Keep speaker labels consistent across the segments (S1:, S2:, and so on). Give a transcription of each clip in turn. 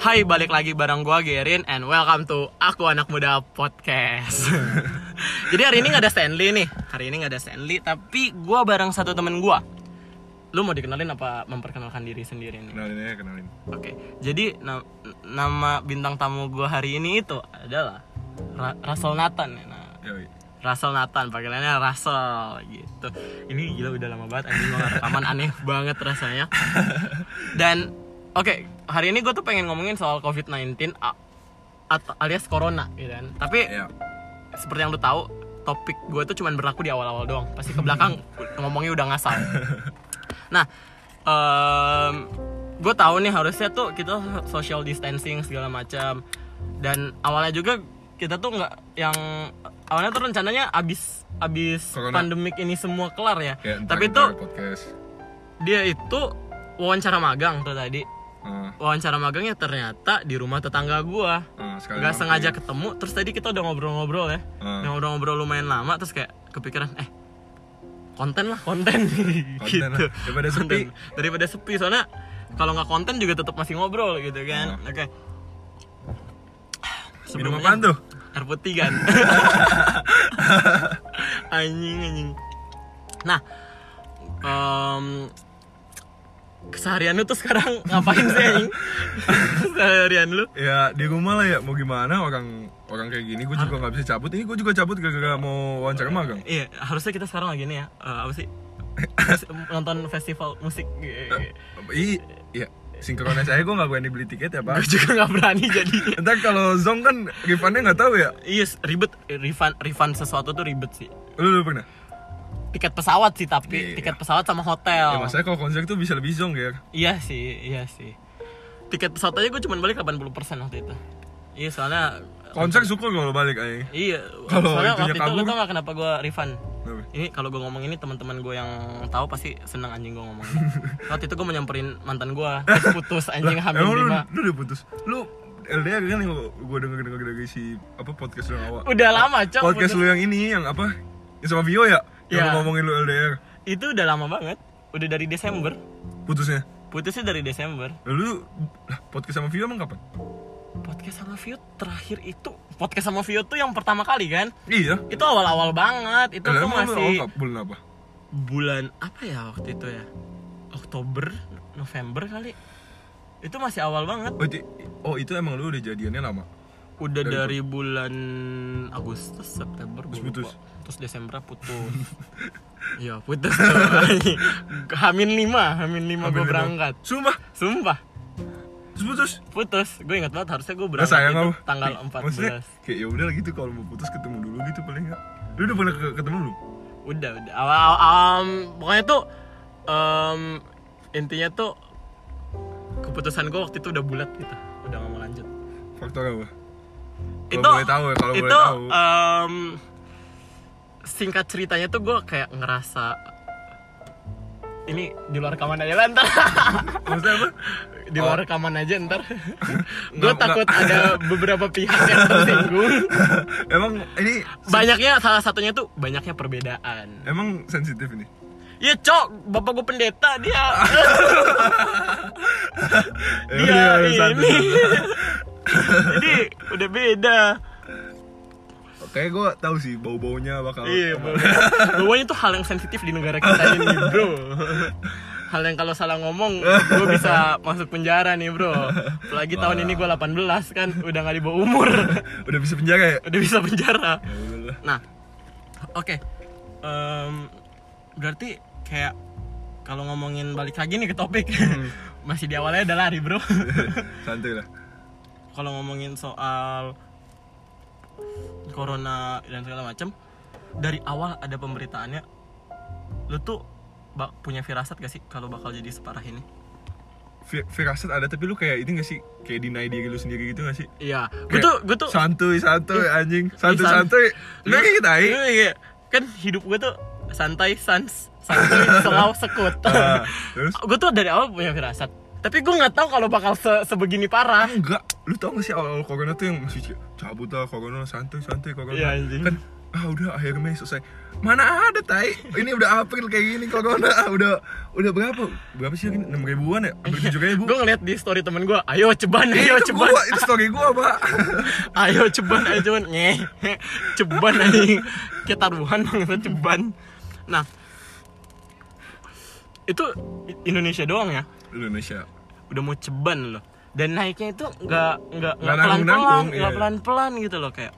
S1: Hai, balik lagi bareng gua Gerin and welcome to Aku Anak Muda Podcast. Jadi hari ini nggak ada Stanley nih. Hari ini nggak ada Stanley, tapi gua bareng satu temen gua. Lu mau dikenalin apa memperkenalkan diri sendiri nih?
S2: kenalin aja kenalin
S1: Oke. Jadi na- nama bintang tamu gua hari ini itu adalah Ra- Russell Nathan. Nah,
S2: Yoi.
S1: Russell Nathan, panggilannya Russell gitu. Ini gila udah lama banget anjing gua nggak rekaman aneh banget rasanya. Dan oke, hari ini gue tuh pengen ngomongin soal COVID-19 a- atau alias corona gitu kan. Tapi
S2: ya
S1: seperti yang lu tahu, topik gue tuh cuman berlaku di awal-awal doang. Pasti ke belakang ngomongnya udah ngasal. Nah, gue tahu nih harusnya tuh kita social distancing segala macam. Dan awalnya juga kita tuh nggak yang awalnya tuh rencananya abis abis
S2: Corona.
S1: pandemik ini semua kelar ya.
S2: kayak ntar
S1: Tapi
S2: kita
S1: tuh
S2: podcast
S1: dia itu wawancara magang tuh tadi.
S2: Ah,
S1: Wawancara magangnya ternyata di rumah tetangga gua
S2: ah, sekali
S1: nggak
S2: mampir.
S1: sengaja ketemu terus tadi kita udah ngobrol-ngobrol ya
S2: Hmm.
S1: Udah ngobrol-ngobrol lumayan lama terus kayak kepikiran eh konten lah konten, gitu
S2: lah, daripada sepi.
S1: Konten. daripada sepi soalnya kalau nggak konten juga tetap masih ngobrol gitu kan oke
S2: Ah. minum
S1: Sebelumnya,
S2: apaan tuh
S1: air putih kan anjing anjing nah em, keseharian lu tuh sekarang ngapain sih anjing keseharian lu
S2: ya di rumah lah ya mau gimana orang orang kayak gini gue
S1: Ah.
S2: juga nggak bisa cabut ini gue juga cabut gara-gara mau wawancara magang
S1: Iya, harusnya kita sekarang lagi nih ya. eh, apa sih? nonton festival musik.
S2: i iya sinkronis aja gue nggak berani beli tiket ya
S1: Gue
S2: pak
S1: juga nggak berani jadi.
S2: entar kalau zong kan refundnya nggak tahu ya
S1: Iya, yes, ribet refund refund sesuatu tuh ribet sih.
S2: lu, lu pernah
S1: Tiket pesawat sih tapi
S2: Iya.
S1: tiket pesawat sama hotel.
S2: ya masalahnya kalau konser tuh bisa lebih zong ya
S1: Iya sih, iya sih. Tiket pesawat aja gue cuma balik 80% waktu itu. Iya, soalnya
S2: konser syukur kalau balik aja
S1: iya,
S2: Kalau
S1: soalnya
S2: itunya
S1: waktu itu lu
S2: kabur.
S1: tau gak kenapa gue refund? ini kalau gue ngomong ini teman-teman gue yang tahu pasti seneng anjing gue ngomong waktu itu gue menyamperin mantan gue terus putus anjing
S2: emang
S1: hamil
S2: lu,
S1: lima
S2: lu udah putus lu LDR kan yang gue denger denger dari si apa podcast lu yang awal
S1: udah lama cok
S2: podcast
S1: putus.
S2: lu yang ini yang apa yang sama Vio ya yang
S1: Ya.
S2: lu ngomongin lu LDR
S1: itu udah lama banget udah dari Desember
S2: putusnya
S1: putusnya dari Desember
S2: lalu lah podcast sama Vio emang kapan
S1: podcast sama Vio terakhir itu podcast sama Vio tuh yang pertama kali kan
S2: iya
S1: itu awal-awal banget itu
S2: LDR
S1: tuh
S2: emang lu
S1: masih
S2: awal bulan apa
S1: bulan apa ya waktu itu ya Oktober November kali itu masih awal banget
S2: oh itu, oh, itu emang lu udah jadiannya lama
S1: udah dari
S2: Dari
S1: bulan Agustus September gua
S2: Terus
S1: lupa.
S2: putus.
S1: terus Desember putus iya putus tuh. Hamin lima Hamin lima
S2: Hamin
S1: gue
S2: lima.
S1: berangkat
S2: sumpah
S1: sumpah
S2: terus putus
S1: putus gue ingat banget harusnya gue
S2: Nah,
S1: berangkat
S2: sayang
S1: itu
S2: apa?
S1: tanggal
S2: Ih,
S1: 14
S2: Maksudnya kayak ya udahlah gitu kalau mau putus ketemu dulu gitu paling enggak. Lu udah pernah ke- ketemu lu?
S1: udah udah awal um, pokoknya tuh um, intinya tuh keputusan gue waktu itu udah bulat gitu udah gak mau lanjut
S2: Faktor apa? Kalau boleh tahu ya, kalau
S1: itu,
S2: boleh tahu.
S1: em, singkat ceritanya tuh gue kayak ngerasa ini di luar rekaman aja lah ntar
S2: Maksudnya apa?
S1: di luar rekaman aja ntar gue
S2: Oh. Nggak-
S1: takut ada beberapa pihak yang tersinggung
S2: emang ini
S1: banyaknya salah satunya tuh banyaknya perbedaan
S2: emang sensitif ini.
S1: ya cok bapak gue pendeta dia
S2: Ya
S1: dia
S2: udah,
S1: Iya, ini
S2: santai, santai.
S1: jadi udah beda
S2: Kayaknya gue tahu sih bau-baunya bakal
S1: Iya, bawahnya tuh hal yang sensitif di negara kita ini, bro.
S2: Iya.
S1: Hal yang kalau salah ngomong, gue bisa masuk penjara nih, bro. Apalagi tahun ini gue 18 kan, udah gak di bawah umur,
S2: udah bisa penjaga ya?
S1: udah bisa penjara.
S2: Ya udahlah.
S1: Nah, oke, Em, berarti kayak kalau ngomongin balik lagi nih ke topik, masih di awalnya udah lari, bro.
S2: Santai lah.
S1: kalau ngomongin soal corona dan segala macam dari awal ada pemberitaannya lu tuh bak- punya firasat gak sih kalau bakal jadi separah ini
S2: Fi- Firasat ada tapi lu kayak ini gak sih? Kayak deny diri lu sendiri gitu gak sih?
S1: iya gue tuh gue tuh
S2: santuy santuy anjing
S1: san-
S2: santuy santuy nggak kayak gitu, kita
S1: Iya, iya. kan hidup gue tuh santai sans santuy selau sekut
S2: Ah, terus?
S1: gue tuh dari awal punya firasat tapi gue nggak tahu kalau bakal se- sebegini
S2: Ah,
S1: parah
S2: enggak lu tau gak sih awal, awal corona tuh yang masih kayak, cabut lah corona santuy santuy corona
S1: Iya, anjing.
S2: kan ah udah akhir Mei selesai mana ada tai ini udah April kayak gini kalau udah ah, udah udah berapa berapa sih ini enam ribuan ya hampir tujuh ribu
S1: Gue ngeliat di story temen gue, ayo ceban,
S2: Eh,
S1: ayo
S2: itu
S1: ceban,
S2: gua, itu story gua pak
S1: ayo ceban, ayo ceban, ngeh, ceban anjing, kayak taruhan banget ceban. Nah, itu Indonesia doang ya,
S2: Indonesia
S1: udah mau ceban loh. Dan naiknya itu nggak nggak
S2: Nggak
S1: nggak pelan pelan,
S2: nanggung-nanggung,
S1: nggak
S2: iya.
S1: pelan pelan gitu loh kayak.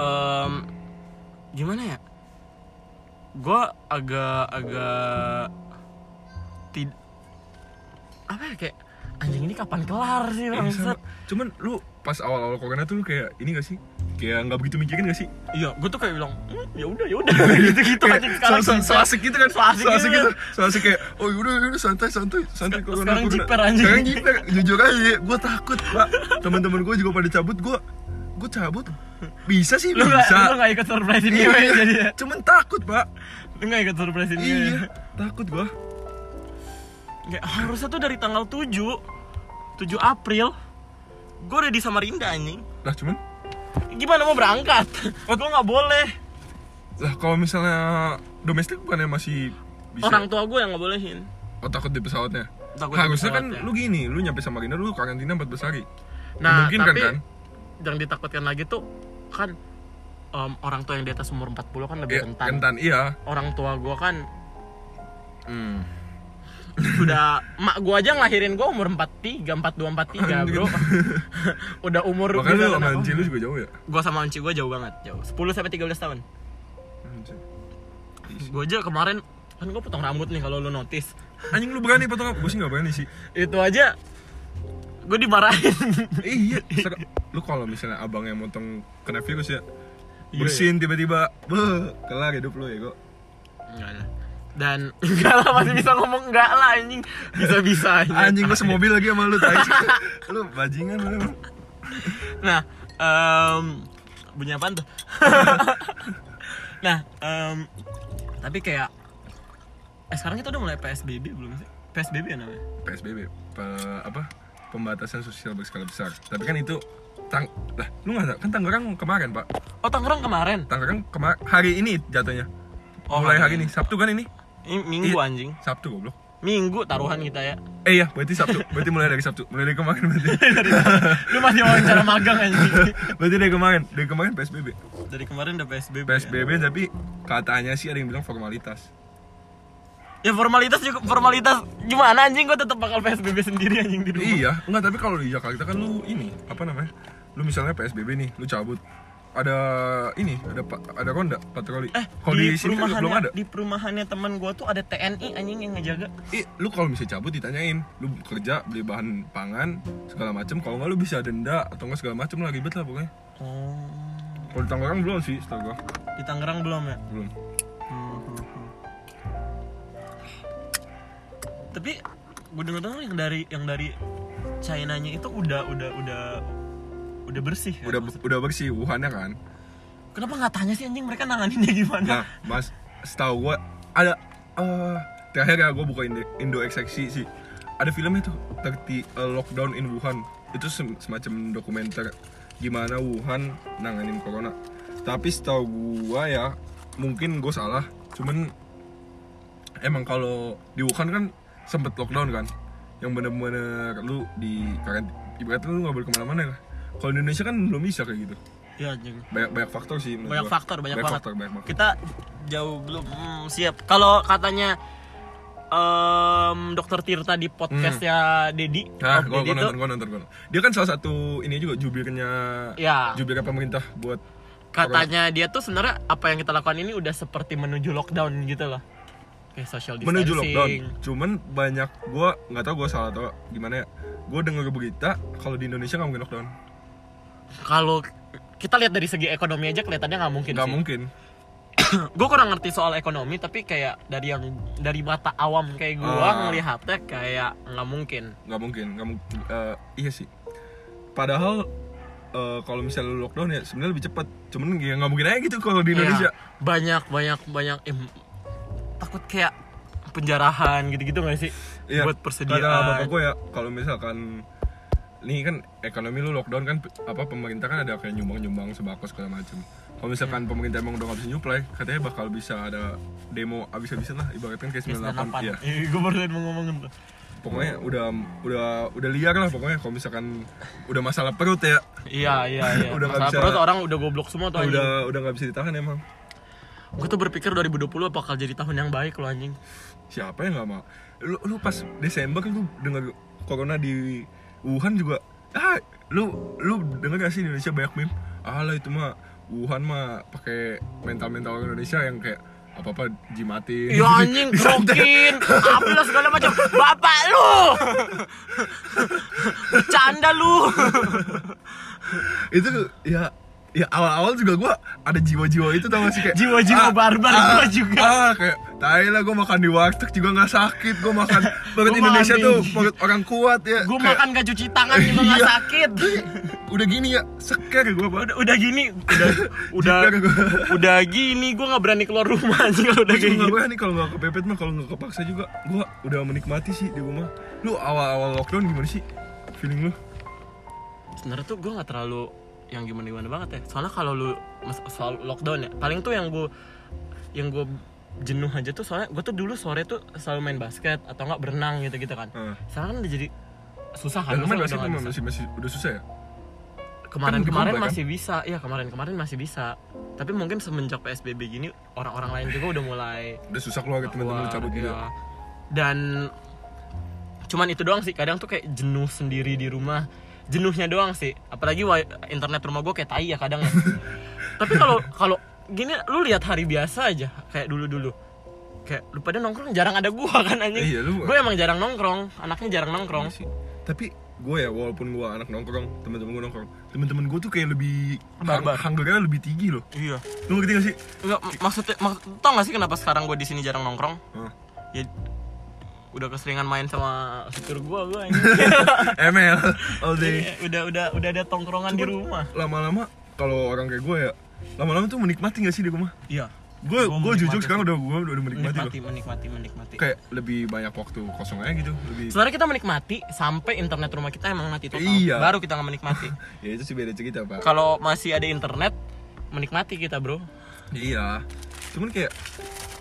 S1: Em, gimana ya? Gue agak agak tid apa ya kayak anjing ini kapan kelar sih
S2: Iya,
S1: bangsat
S2: sama. cuman lu pas awal-awal corona tuh lu kayak ini gak sih kayak nggak begitu mikirin gak sih
S1: Iya, gue tuh kayak bilang, "Hmm, ya udah, ya udah, gitu gitu
S2: Kayak
S1: aja sekarang.
S2: so, so, so
S1: jiper.
S2: asik gitu kan
S1: So asik gitu.
S2: gitu so asik kayak oh yaudah yaudah santai santai santai
S1: Sekarang-
S2: corona,
S1: sekarang
S2: corona.
S1: jiper, anjing.
S2: sekarang jiper jujur aja gue takut pak teman-teman gue juga pada cabut gue gue cabut bisa sih
S1: Lu nggak, lu
S2: bisa Iya.
S1: nggak ikut surprise ini, weh, jadi ya.
S2: cuman takut pak
S1: Lu nggak ikut surprise ini. ya.
S2: iya takut gue
S1: Kayak harusnya tuh dari tanggal 7 7 April gue udah di Samarinda anjing.
S2: lah cuman
S1: Gimana mau berangkat? gue nggak boleh.
S2: lah kalau misalnya domestik bukannya masih bisa
S1: Orang tua gue yang nggak bolehin.
S2: oh takut di pesawatnya
S1: Takut di
S2: harusnya kan
S1: pesawatnya.
S2: lu gini lu nyampe sama Gina lu karantina 14 hari
S1: Nah,
S2: Memungkinkan,
S1: tapi
S2: kan?
S1: yang ditakutkan lagi tuh kan em, orang tua yang di atas umur 40 kan lebih
S2: Iya,
S1: rentan.
S2: rentan iya
S1: Orang tua gue kan
S2: Hmm.
S1: udah mak gua aja ngelahirin gua umur 43, 42, 43, Bro. udah umur
S2: Makanya lu
S1: udah
S2: sama
S1: kenapa?
S2: Anci lu juga jauh ya?
S1: Gua sama Anci gua jauh banget, jauh. 10 sampai 13 tahun. Gua aja kemarin kan gua potong rambut nih kalau lu notice.
S2: Anjing lu berani potong apa? Gue sih gak berani sih
S1: Itu aja gua dimarahin.
S2: Iya ser- Lu kalau misalnya abang yang motong kena virus ya
S1: Iya,
S2: Bersin tiba-tiba Beuh, Kelar hidup lu ya kok
S1: enggak lah. Dan enggak lah masih bisa ngomong enggak lah anjing. Bisa-bisa
S2: Anjing gue semobil lagi sama lu tai Lu bajingan lu emang.
S1: Nah, em bunyi apaan tuh? nah, em tapi kayak eh sekarang kita udah mulai PSBB belum sih? PSBB ya namanya?
S2: PSBB pe- Apa? Pembatasan sosial berskala besar Tapi kan itu Tang lah, lu nggak kan Tangerang kemarin pak
S1: Oh, Tangerang kemarin.
S2: Tangerang kemarin kan hari ini jatuhnya
S1: Oh, hari
S2: mulai hari ini Sabtu kan ini
S1: Ini Minggu
S2: Iya.
S1: anjing.
S2: Sabtu goblok
S1: Minggu taruhan kita ya.
S2: eh iya berarti Sabtu berarti mulai dari Sabtu mulai dari kemarin berarti
S1: Lu masih wawancara magang anjing.
S2: Berarti dari kemarin, dari kemarin PSBB.
S1: Dari kemarin udah PSBB. ya.
S2: PSBB tapi katanya sih ada yang bilang formalitas.
S1: Ya formalitas juga formalitas gimana anjing gua tetap bakal PSBB sendiri anjing di rumah.
S2: Iya, enggak tapi kalau di Jakarta kan lu ini apa namanya? Lu misalnya PSBB nih, lu cabut. Ada ini, ada pa- ada ronda patroli.
S1: Eh,
S2: kalau di, sini kan
S1: perumahannya,
S2: belum ada.
S1: Di perumahannya teman gua tuh ada TNI anjing yang ngejaga.
S2: Ih, lu kalau bisa cabut ditanyain, lu kerja beli bahan pangan segala macem kalau nggak lu bisa denda atau nggak segala macem lah ribet lah pokoknya.
S1: Oh.
S2: Kalau di Tangerang belum sih, setahu gua.
S1: Di Tangerang belum ya?
S2: Belum.
S1: Tapi gue denger dengar yang dari yang dari China-nya itu udah udah udah udah bersih. kan?
S2: Udah
S1: Maksud-
S2: udah bersih Wuhannya kan.
S1: Kenapa nggak tanya sih anjing mereka nanganinnya gimana?
S2: Nah, Mas, setahu gua ada eh terakhir ya gua buka Indo, Indo Exeksi sih. Ada filmnya tuh 30 eh, Lockdown in Wuhan. Itu sem- semacam dokumenter gimana Wuhan nanganin corona. Tapi setahu gua ya, mungkin gua salah, cuman emang kalau di Wuhan kan sempet lockdown kan yang bener-bener lu di karantina ibaratnya lu nggak boleh kemana-mana lah kalau di Indonesia kan belum bisa kayak gitu
S1: Ya anjing.
S2: banyak banyak faktor sih menurut
S1: Banyak
S2: gua.
S1: faktor, banyak, banget.
S2: faktor, banyak faktor.
S1: Kita jauh belum hmm, siap. Kalau katanya em Dokter Tirta di podcastnya Dedi, Om
S2: Nah, gue
S1: Dedi tuh,
S2: nonton, gue nonton, gua nonton. Dia kan salah satu ini juga jubirnya,
S1: ya
S2: jubirnya pemerintah buat
S1: katanya dia tuh sebenarnya apa yang kita lakukan ini udah seperti menuju lockdown gitu loh. Kayak social distancing.
S2: menuju lockdown. Cuman banyak gue nggak tahu gue salah atau gimana ya. Gue denger berita kalau di Indonesia nggak mungkin lockdown,
S1: kalau kita lihat dari segi ekonomi aja kelihatannya nggak mungkin
S2: nggak
S1: sih.
S2: mungkin.
S1: Gue kurang ngerti soal ekonomi, tapi kayak dari yang dari mata awam kayak gua
S2: Ah.
S1: ngelihatnya kayak nggak mungkin.
S2: nggak mungkin nggak mungkin iya sih padahal eh, kalau misalnya lu lockdown ya sebenarnya lebih cepat cuman ya nggak mungkin aja gitu kalau di Indonesia
S1: Iya, banyak banyak banyak em, takut kayak penjarahan gitu-gitu nggak sih?
S2: Iya,
S1: Buat persediaan.
S2: kata bapak gue ya kalau misalkan ini kan ekonomi lu lockdown kan pe- apa pemerintah kan ada kayak nyumbang nyumbang sembako segala macam kalau kalau misalkan
S1: Iya.
S2: pemerintah emang udah nggak bisa nyuplai katanya bakal bisa ada demo abis-abisan lah ibaratkan kayak 98 iya
S1: gue baru tadi mau ngomongin tuh
S2: pokoknya udah udah udah liar lah pokoknya kalau misalkan udah masalah perut ya
S1: Iya iya iya.
S2: Udah nggak
S1: Masalah
S2: bisa-
S1: perut orang udah goblok semua tuh anjing.
S2: udah udah nggak bisa ditahan emang
S1: Gue tuh berpikir 2020 bakal jadi tahun yang baik loh anjing.
S2: siapa yang nggak mau lu lu pas Desember kan lu dengar corona di Wuhan juga ah lu lu dengar gak sih di Indonesia banyak meme ah lah itu mah Wuhan mah pakai mental mental orang Indonesia yang kayak apa apa jimatin Gitu
S1: Ya anjing
S2: Disantet.
S1: krokin, apalah segala macam. Bapak lu. Bercanda lu.
S2: itu ya ya awal-awal juga gua ada jiwa-jiwa itu tau gak sih kayak
S1: Jiwa-jiwa barbar gua juga.
S2: ah kayak tai lah gua makan di warteg juga nggak sakit gua makan perut
S1: Gua
S2: Indonesia
S1: makan
S2: tuh
S1: di-
S2: perut orang kuat ya
S1: Gue
S2: Kayak,
S1: makan gak cuci tangan juga gak
S2: Iya.
S1: sakit.
S2: udah gini ya seker gua banget
S1: Udah, udah gini, udah udah
S2: Jijik gua.
S1: udah gini gue nggak berani keluar rumah anjing kalau udah
S2: Gue
S1: kayak
S2: juga
S1: gini.
S2: gak berani kalau gak kepepet mah kalau gak kepaksa juga Gue udah menikmati sih di rumah Lu awal-awal lockdown gimana sih? Feeling lu?
S1: sebenarnya tuh gue nggak terlalu yang gimana gimana banget ya soalnya kalau lu mas- soal lockdown ya paling tuh yang gue yang gue jenuh aja tuh soalnya gue tuh dulu sore tuh selalu main basket atau nggak berenang gitu gitu kan
S2: Heeh.
S1: sekarang kan udah jadi susah kan
S2: Dan lu main
S1: masa udah
S2: basket
S1: nggak
S2: emang
S1: bisa.
S2: Ya, masih, masih udah susah ya?
S1: kemarin
S2: kan
S1: kemarin
S2: berubah, kan?
S1: masih bisa iya kemarin kemarin masih bisa tapi mungkin semenjak psbb gini orang-orang lain juga udah mulai
S2: Udah susah keluar ke temen-temen lu
S1: keluar,
S2: cabut gitu
S1: iya. dan cuman itu doang sih kadang tuh kayak jenuh sendiri di rumah jenuhnya doang sih apalagi wi- internet rumah gue kayak tai ya kadang ya. tapi kalau kalau gini lu lihat hari biasa aja kayak dulu dulu kayak lu pada nongkrong jarang ada gua kan anjing
S2: Iya, lu-
S1: gue emang jarang nongkrong anaknya jarang nongkrong
S2: Iya sih. Tapi gue ya walaupun gue anak nongkrong temen-temen gue nongkrong temen-temen gue tuh kayak lebih
S1: Barbar.
S2: hungernya lebih tinggi loh
S1: iya
S2: lu ngerti gak sih
S1: Enggak, mak- maksudnya mak- tau gak sih kenapa sekarang gue di sini jarang nongkrong
S2: Hah.
S1: ya udah keseringan main sama supir gue gue ini
S2: ML all day
S1: udah udah udah ada tongkrongan di rumah
S2: lama-lama kalau orang kayak gue ya lama-lama tuh menikmati gak sih di rumah
S1: Iya.
S2: gue
S1: Gua
S2: gue jujur
S1: menikmati.
S2: sekarang udah gue udah menikmati loh
S1: Menikmati, menikmati, menikmati.
S2: kayak lebih banyak waktu kosong aja gitu lebih
S1: Sebenarnya kita menikmati sampai internet rumah kita emang mati total.
S2: Iya.
S1: Baru kita nggak menikmati.
S2: ya itu sih beda cerita pak
S1: Kalau masih ada internet, menikmati kita bro.
S2: iya cuman kayak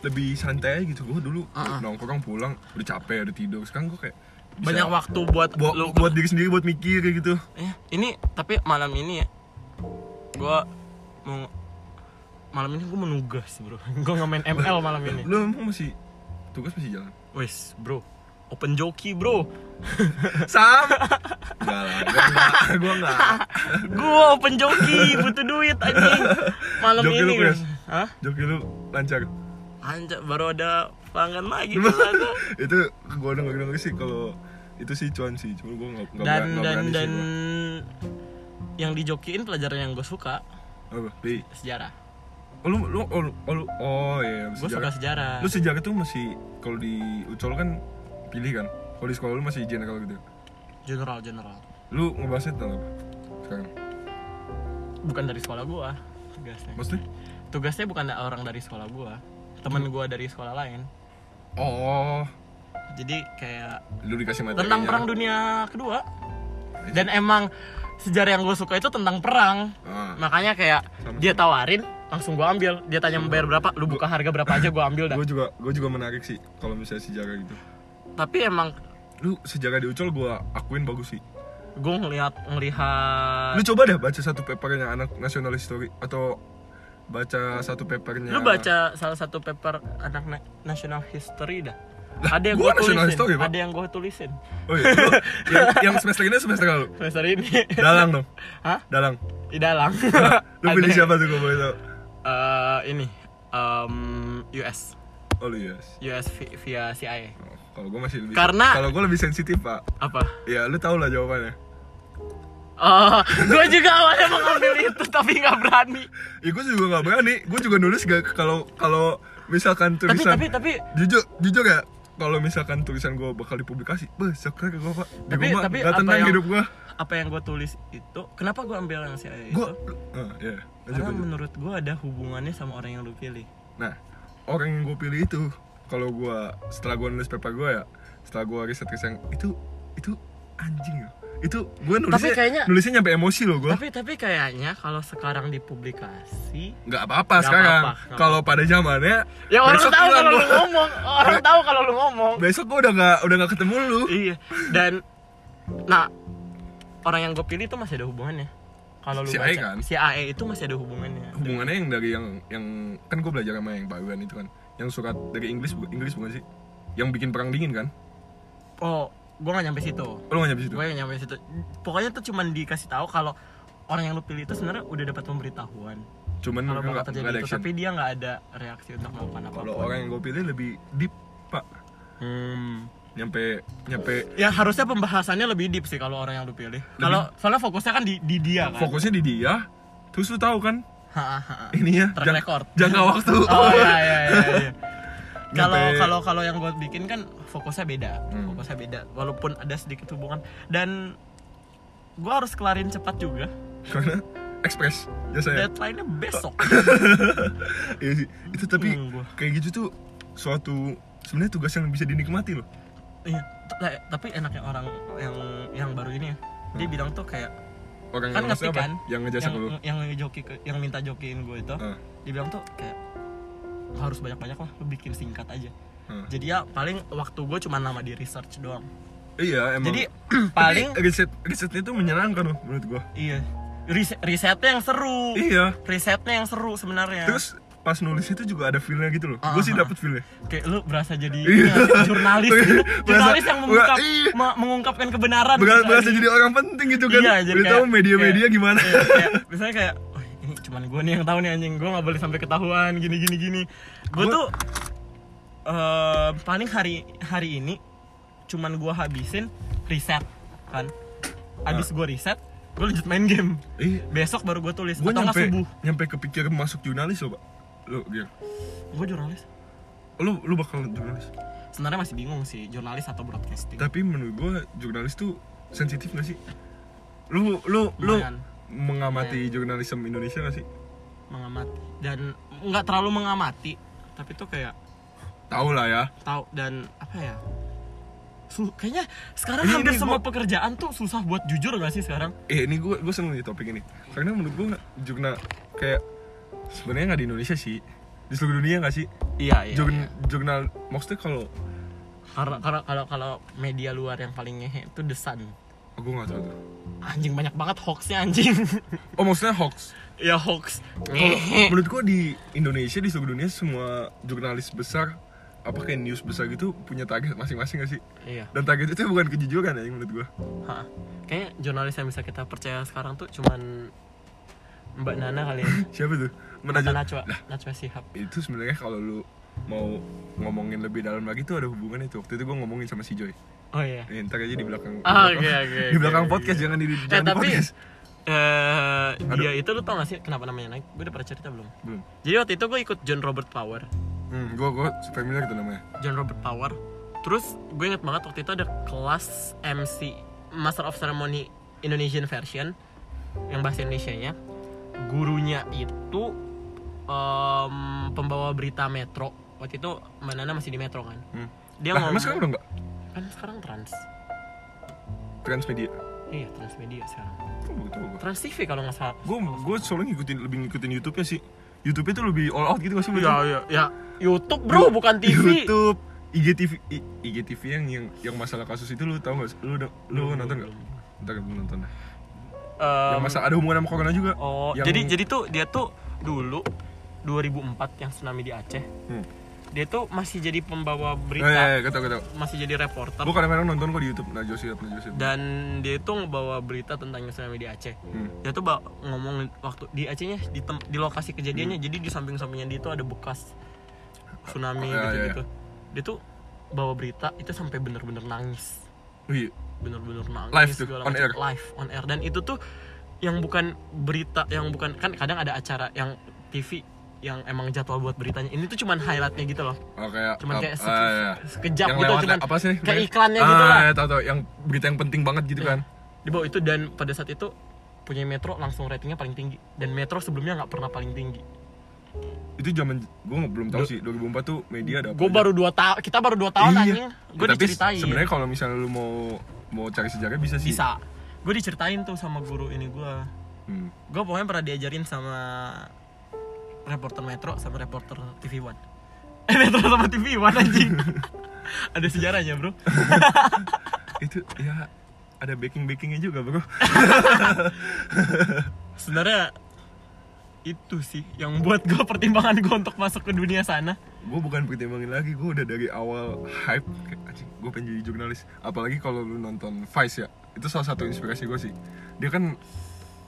S2: lebih santai aja gitu gue dulu
S1: Ah,
S2: nongkrong pulang udah capek udah tidur sekarang gue kayak bisa
S1: Banyak waktu buat
S2: buat
S1: lu.
S2: buat diri sendiri buat mikir kayak gitu
S1: Eh, ini tapi malam ini ya, gue mau malam ini gue menugas bro. gue nggak main ML malam ini.
S2: lu emang masih tugas masih jalan
S1: Wes bro, open joki bro.
S2: sam enggak lah gue enggak gue enggak
S1: gue open joki butuh duit anjing. Malam
S2: Joki lu,
S1: ini.
S2: Chris.
S1: Hah?
S2: joki lu lancar
S1: Anjir, baru ada pelanggan lagi di sana.
S2: itu gue denger denger sih kalau itu sih cuan sih cuma gue nggak nggak
S1: dan
S2: beran- nggak
S1: dan
S2: berani
S1: dan
S2: sih gua.
S1: yang dijokiin pelajaran yang gue suka
S2: apa Bi?
S1: sejarah
S2: Oh, lu lu oh, lu- oh, lu- oh iya
S1: gue suka sejarah
S2: Lu sejak itu masih kalau di Ucol kan pilih kan? Kalau di sekolah lu masih general gitu.
S1: general general
S2: Lu ngebahasnya tentang apa? Sekarang.
S1: bukan dari sekolah gue tugasnya
S2: Maksudnya?
S1: tugasnya bukan da- orang dari sekolah gue temen gue dari sekolah lain
S2: Oh,
S1: jadi kayak
S2: lu dikasih materi. ya.
S1: tentang perang dunia kedua
S2: Iya.
S1: dan emang sejarah yang gue suka itu tentang perang
S2: Ah.
S1: makanya kayak
S2: Sama-sama.
S1: dia tawarin langsung gue ambil dia tanya membayar berapa lu buka harga berapa aja gue ambil dah
S2: Gue juga gue juga menarik sih kalau misalnya sejarah gitu.
S1: tapi emang
S2: Lu sejarah di Ucol gua akuin bagus sih.
S1: gue ngeliat ngelihat
S2: Lu coba deh baca satu papernya anak National History atau baca satu papernya
S1: Lu baca salah satu paper anak na- National History dah. ada yang
S2: gua
S1: gue
S2: National
S1: tulisin,
S2: History, Pak.
S1: ada yang gue tulisin
S2: Oh iya, lu- yang, yang semester ini semester lalu.
S1: semester ini.
S2: Dalang dong.
S1: Hah?
S2: Dalang.
S1: Di dalam.
S2: Lu pilih siapa tuh gue boleh tau?
S1: Eh, ini em, US,
S2: Oh lu yes.
S1: US vi- via CIA.
S2: Oh, Kalau gue masih lebih
S1: Karena-
S2: kalau gue lebih sensitif pak.
S1: Apa?
S2: Ya lu tau lah jawabannya.
S1: Oh, gue juga awalnya mau ngambil itu tapi nggak berani.
S2: Ya gue juga nggak berani. Gue juga nulis gak kalau kalau misalkan
S1: Tapi
S2: tulisan.
S1: tapi tapi
S2: Jujur jujur ya. Kalau misalkan tulisan gue bakal dipublikasi, beh sekarang ke gue pak. Di
S1: Tapi-
S2: rumah
S1: tapi
S2: nggak
S1: apa
S2: tenang
S1: yang-
S2: hidup gue.
S1: apa yang gue tulis itu, kenapa gue ambil yang CIA itu?
S2: Gue, ah, ya. Lanjut,
S1: Iya. Karena
S2: lanjut.
S1: menurut gue ada hubungannya sama orang yang lu pilih.
S2: Nah orang yang gue pilih itu kalau gue setelah gue nulis paper gue ya setelah gue riset riset itu itu anjing ya itu gue nulisnya
S1: kayaknya-
S2: nulisnya nyampe emosi loh gue
S1: tapi tapi kayaknya kalau sekarang dipublikasi
S2: nggak apa-apa
S1: Nggak
S2: sekarang
S1: apa-apa, nggak
S2: kalau pada zamannya
S1: ya orang
S2: besok
S1: tahu
S2: hilang
S1: kalau lu
S2: gua.
S1: ngomong orang tahu kalau lu ngomong
S2: besok gue udah nggak udah nggak ketemu lu
S1: iya dan nah orang yang gue pilih itu masih ada hubungannya kalau lu
S2: Si
S1: baca
S2: AE kan?
S1: si AE itu masih ada hubungannya
S2: hubungannya yang dari yang yang kan gue belajar sama yang Pak Iwan itu kan yang surat dari Inggris bu- Inggris bukan sih yang bikin perang dingin kan
S1: oh gue gak nyampe situ
S2: Oh, lu nggak nyampe situ
S1: gue yang nyampe situ pokoknya tuh cuman dikasih tahu kalau orang yang lu pilih itu sebenarnya udah dapat pemberitahuan
S2: cuman
S1: kalau
S2: mereka
S1: bakal
S2: nggak nggak
S1: terjadi
S2: ada
S1: itu
S2: action
S1: tapi dia nggak ada reaksi untuk melakukan apa
S2: kalau orang yang gue pilih lebih deep pak nyampe nyampe
S1: ya harusnya pembahasannya lebih deep sih kalau orang yang lu pilih kalau soalnya fokusnya kan di, di dia kan
S2: fokusnya di dia terus lu tahu kan
S1: Hahaha.
S2: ininya
S1: Track
S2: jang-
S1: record.
S2: jangka waktu
S1: oh iya iya iya, iya. kalau
S2: Nyampe-
S1: kalau kalau yang gue bikin kan fokusnya beda
S2: Hmm.
S1: fokusnya beda walaupun ada sedikit hubungan dan gue harus kelarin cepat juga
S2: karena express ya. biasanya
S1: deadline-nya besok
S2: Iya sih. itu tapi
S1: Bingung Hmm, gua.
S2: kayak gitu tuh suatu sebenarnya tugas yang bisa dinikmati loh
S1: Iya, t- eh, tapi enaknya orang yang yang baru ini ya.
S2: Hmm.
S1: Dia bilang tuh kayak
S2: orang
S1: kan
S2: yang
S1: ngerti
S2: Iya, apa?
S1: kan
S2: yang Ah, ngejasa
S1: yang,
S2: ke lu
S1: yang joki ke- yang minta jokiin gue itu.
S2: Heeh.
S1: Dia bilang tuh kayak harus banyak-banyak lah lu bikin singkat aja.
S2: Heeh.
S1: Jadi ya paling waktu gue cuma lama di research doang.
S2: iya emang
S1: Jadi
S2: Tapi
S1: paling
S2: riset risetnya tuh menyenangkan loh menurut gua
S1: iya Ris- risetnya yang seru.
S2: iya
S1: Risetnya yang seru sebenarnya.
S2: terus pas nulis itu juga ada feelnya gitu loh
S1: Ah,
S2: gua sih
S1: ah.
S2: dapet feelnya
S1: kayak lu berasa jadi
S2: Iya.
S1: ya, jurnalis gitu.
S2: Berasa-
S1: jurnalis yang mengungkap,
S2: Iya.
S1: ma- mengungkapkan kebenaran.
S2: Berasa,
S1: gitu.
S2: berasa jadi orang penting gitu kan
S1: Iya, jadi
S2: udah tahu
S1: kayak-
S2: media-media gimana
S1: Iya, kayak, misalnya kayak "Wah, ini cuman gue nih yang tahu nih anjing gue nggak boleh sampai ketahuan gini gini gini gue
S2: Gua-
S1: tuh eh, paling hari hari ini cuman gue habisin riset kan abis
S2: Nah.
S1: gue riset gue lanjut main game
S2: iya
S1: besok baru gue tulis
S2: gua
S1: atau nggak
S2: nyampe
S1: subuh
S2: nyampe kepikir masuk jurnalis loh pak lu Gil.
S1: gue jurnalis
S2: lu lu bakal jurnalis
S1: sebenarnya masih bingung sih jurnalis atau broadcasting
S2: tapi menurut gua jurnalis tuh sensitif gak sih lu lu lu
S1: Lumayan.
S2: mengamati jurnalisme Indonesia gak sih
S1: mengamati dan nggak terlalu mengamati tapi tuh kayak
S2: tahu lah ya
S1: tahu dan apa ya Su- kayaknya sekarang
S2: Ini-
S1: hampir
S2: ini
S1: semua
S2: gua-
S1: pekerjaan tuh susah buat jujur gak sih sekarang
S2: eh ini gue gue seneng nih topik ini karena menurut gue jurnal kayak sebenarnya nggak di Indonesia sih di seluruh dunia nggak sih
S1: iya iya,
S2: Jurn- jurnal maksudnya kalau
S1: karena karena kalau kalau media luar yang paling ngehe itu The Sun
S2: aku nggak tahu tuh.
S1: anjing banyak banget hoaxnya anjing
S2: oh maksudnya hoax
S1: ya hoax
S2: kalau
S1: Ngehe.
S2: menurut gue di Indonesia di seluruh dunia semua jurnalis besar apa kayak news besar gitu punya target masing-masing gak sih
S1: iya
S2: dan target itu bukan kejujuran ya yang menurut gue
S1: ha. kayaknya jurnalis yang bisa kita percaya sekarang tuh cuman Mbak Nana kali ya
S2: siapa tuh
S1: Atau
S2: Menajat-
S1: Najwa Najwa Sihab
S2: itu sebenarnya kalau lu mau ngomongin lebih dalam lagi tuh ada hubungannya itu waktu itu gue ngomongin sama si Joy
S1: oh iya
S2: Eh, ntar aja di belakang di
S1: Ah,
S2: belakang-
S1: oke, oke,
S2: di
S1: oke,
S2: belakang
S1: oke.
S2: podcast jangan di, jangan
S1: eh
S2: di
S1: tapi
S2: podcast
S1: eh dia
S2: Aduh.
S1: itu lu tau gak sih kenapa namanya naik gue udah pernah cerita belum
S2: belum
S1: jadi waktu itu gue ikut John Robert Power
S2: hmm, gue gue familiar tuh namanya
S1: John Robert Power. Terus gue inget banget waktu itu ada kelas MC Master of Ceremony Indonesian version yang bahasa Indonesia-nya. Gurunya itu em, pembawa berita Metro. Waktu itu Mbak Nana masih di Metro kan.
S2: hmm.
S1: Dia
S2: lah
S1: ngomong
S2: emang sekarang udah nggak
S1: kan sekarang trans.
S2: transmedia
S1: Iya, transmedia sekarang.
S2: tuh gue tuh
S1: Trans TV kalau nggak salah.
S2: gue gue soalnya ngikutin lebih ngikutin YouTube nya sih YouTube itu lebih all out gitu gak sih menurut lu?
S1: ya, ya. YouTube bro, bukan TV.
S2: YouTube IGTV I- IGTV yang yang yang masalah kasus itu lu tau gak sih? lu udah- lu nonton gak? ntar belum nonton dah. yang
S1: Em,
S2: masalah ada hubungan sama corona juga
S1: Oh,
S2: Yang- Hmm.
S1: jadi jadi tuh dia tuh dulu 2004 yang tsunami di Aceh.
S2: Hmm.
S1: Dia tuh masih jadi pembawa
S2: Oh, iya,
S1: berita,
S2: iya, kata kata
S1: masih jadi reporter
S2: gue kadang-kadang nonton kok di YouTube Nah, Najwa Sihab Najwa Sihab
S1: dan dia tuh ngebawa berita tentang tsunami di Aceh.
S2: Hmm.
S1: Dia tuh ba- ngomong waktu di Acehnya di tem- di lokasi kejadiannya.
S2: Hmm.
S1: Jadi di samping-sampingnya dia tuh ada bekas tsunami
S2: Oh, iya,
S1: gitu-gitu. Dia tuh bawa berita itu sampai bener-bener nangis.
S2: Wih,
S1: bener-bener nangis
S2: Live tuh,
S1: segala
S2: on
S1: macam.
S2: air.
S1: live on air dan itu tuh yang bukan berita yang bukan kan kadang ada acara yang TV yang emang jadwal buat beritanya ini tuh cuman highlightnya gitu loh
S2: oh, kayak
S1: cuman
S2: ap-
S1: kayak se-
S2: ah, iya.
S1: sekejap
S2: yang
S1: gitu
S2: lewat
S1: cuman
S2: apa sih
S1: kayak
S2: namanya?
S1: iklannya gitu lah
S2: ah,
S1: Iya.
S2: ya, tahu tahu yang berita yang penting banget gitu kan
S1: di bawah itu dan pada saat itu punya Metro langsung ratingnya paling tinggi dan Metro sebelumnya nggak pernah paling tinggi
S2: itu zaman gue belum tahu
S1: Duh.
S2: sih 2004 tuh media ada apa
S1: gue
S2: aja.
S1: baru dua tahun kita baru dua tahun
S2: Iya.
S1: anjing gue
S2: tapi
S1: diceritain
S2: sebenarnya kalau misalnya lu mau mau cari sejarah bisa sih
S1: bisa gue diceritain tuh sama guru ini gue
S2: Hmm.
S1: gue pokoknya pernah diajarin sama reporter Metro sama reporter TV One eh Metro sama TV One anjing ada sejarahnya bro
S2: Itu ya ada baking bakingnya juga bro.
S1: sebenarnya itu sih yang buat gue pertimbangan gue untuk masuk ke dunia sana
S2: gue bukan pertimbangin lagi gue udah dari awal hype kayak anjing gue pengen jadi jurnalis apalagi kalau lu nonton Vice ya itu salah satu inspirasi gue sih dia kan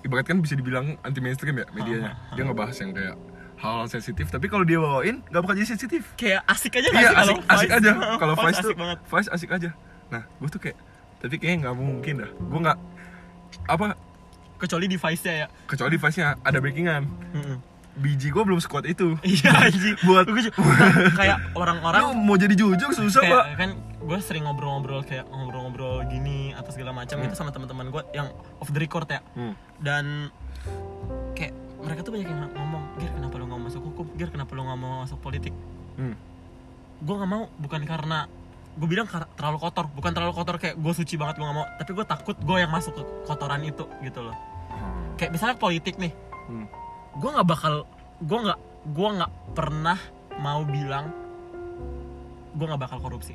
S2: ibarat kan bisa dibilang anti mainstream ya medianya dia ngebahas yang kayak hal-hal sensitif tapi kalau dia bawain nggak bakal jadi sensitif
S1: kayak asik aja nggak
S2: iya
S1: sih kalau
S2: asik asik
S1: Vice?
S2: aja kalau
S1: Vice
S2: Vice tuh
S1: asik banget
S2: Vice asik aja nah gue tuh kayak tapi kayaknya nggak mungkin dah gue nggak apa
S1: kecuali di Vice nya ya
S2: kecuali Vice nya ada backingan biji gue belum sekuat itu
S1: iya anjing
S2: Buat-
S1: Gua ju- kayak orang-orang
S2: lu mau jadi jujur susah
S1: kayak
S2: pak
S1: kan gue sering ngobrol-ngobrol kayak ngobrol-ngobrol gini atau segala macam
S2: Mm.
S1: itu sama teman-teman gue yang off the record ya
S2: Hmm.
S1: dan kayak mereka tuh banyak yang ngomong Gir kenapa lo nggak mau masuk hukum Gir kenapa lo nggak mau masuk politik
S2: Hmm.
S1: gue nggak mau bukan karena gue bilang kar- terlalu kotor bukan terlalu kotor kayak gue suci banget gue nggak mau tapi gue takut gue yang masuk ke kotoran itu gitu loh kayak misalnya politik nih
S2: Hmm.
S1: gue nggak bakal gue nggak gue nggak pernah mau bilang gue nggak bakal korupsi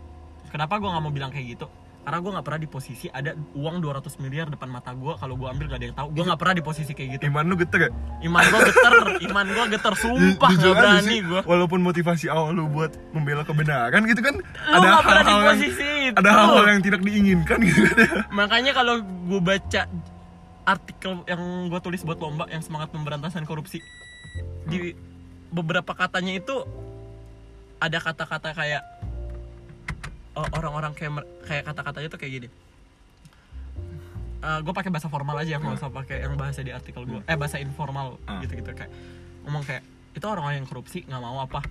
S1: kenapa gue nggak mau bilang kayak gitu karena gue nggak pernah di posisi ada uang 200 miliar depan mata gue kalau gue ambil gak ada yang tahu gue nggak pernah di posisi kayak gitu
S2: iman lu geter ya
S1: iman gue geter iman gue geter sumpah
S2: Jujur
S1: gak
S2: aja
S1: berani
S2: sih,
S1: gue
S2: Walaupun motivasi awal lu buat membela kebenaran gitu kan
S1: lu
S2: ada
S1: nggak pernah di
S2: hal-hal yang
S1: posisi itu
S2: ada hal-hal yang tidak diinginkan gitu kan ya.
S1: makanya kalau gue baca artikel yang gue tulis buat lomba yang semangat pemberantasan korupsi di beberapa katanya itu ada kata-kata kayak eh, orang-orang kayak mer- kayak kata-katanya tuh kayak gini gue pakai bahasa formal aja nggak usah pakai yang bahasa di artikel gue eh bahasa informal
S2: Hmm.
S1: gitu-gitu kayak ngomong kayak itu orang-orang yang korupsi nggak mau apa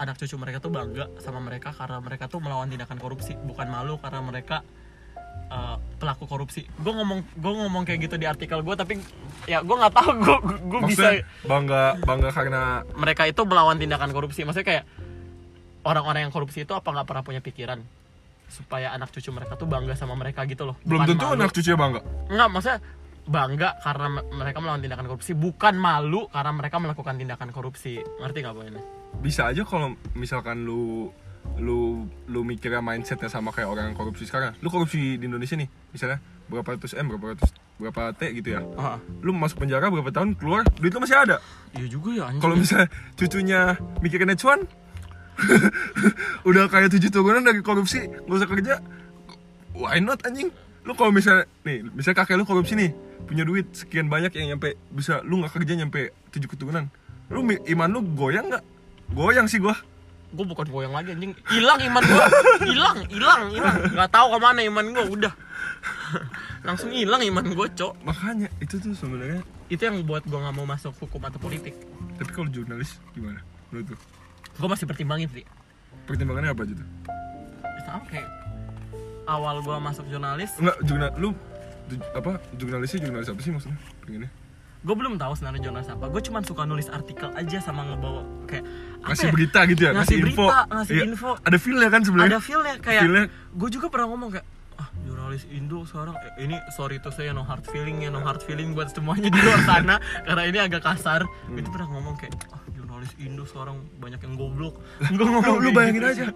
S1: anak cucu mereka tuh bangga sama mereka karena mereka tuh melawan tindakan korupsi bukan malu karena mereka uh, pelaku korupsi gue ngomong gue ngomong kayak gitu di artikel gue tapi ya gue nggak tahu gue gue bisa
S2: Maksudnya bangga bangga karena
S1: mereka itu melawan tindakan korupsi maksudnya kayak orang-orang yang korupsi itu apa nggak pernah punya pikiran supaya anak cucu mereka tuh bangga sama mereka gitu loh
S2: belum tentu anak cucunya bangga.
S1: nggak maksudnya bangga karena me- mereka melawan tindakan korupsi bukan malu karena mereka melakukan tindakan korupsi ngerti nggak poinnya
S2: Bisa aja kalau misalkan lu lu lu mikirnya mindsetnya sama kayak orang yang korupsi sekarang. Lu korupsi di Indonesia nih, misalnya berapa ratus M, berapa ratus berapa T gitu ya. Lu masuk penjara berapa tahun keluar, duit lu masih
S1: Ah,
S2: ada.
S1: iya juga ya anjing
S2: Kalau misalnya cucunya mikirin cuan udah kayak tujuh turunan dari korupsi, nggak usah kerja, why not anjing? Lu kalau misalnya nih, misalnya kakek lu korupsi nih, punya duit sekian banyak yang nyampe bisa lu nggak kerja nyampe tujuh keturunan, lu mi- iman lu goyang nggak? Goyang sih gua.
S1: gue bukan goyang lagi anjing hilang iman gue hilang hilang hilang nggak tahu kemana iman gue udah langsung hilang iman gue cok
S2: Makanya itu tuh sebenarnya.
S1: itu yang buat gue nggak mau masuk hukum atau politik
S2: Tapi kalau jurnalis gimana? Menurut lu?
S1: gue masih pertimbangin sih
S2: Pertimbangannya apa aja tuh?
S1: sama kayak awal gue masuk jurnalis
S2: Enggak, jurnal lu ju- apa jurnalisnya jurnalis apa sih maksudnya? Pengennya
S1: gue belum tahu sebenarnya jurnalis apa gue cuman suka nulis artikel aja sama ngebawa kayak apa
S2: ngasih
S1: ya?
S2: berita gitu ya,
S1: Ngasih
S2: info.
S1: berita, ngasih
S2: Iya.
S1: info.
S2: Ada feel ya kan sebenarnya?
S1: ada feelnya kayak
S2: Feel-nya.
S1: gue juga pernah ngomong kayak ah jurnalis Indo sekarang eh, ini sorry to say no hard feeling ya no hard feeling buat semuanya di luar sana karena ini agak kasar
S2: Hmm.
S1: itu pernah ngomong kayak ah jurnalis Indo sekarang banyak yang goblok gue
S2: lu,
S1: ngomong
S2: lu
S1: kayak
S2: bayangin
S1: gitu.
S2: aja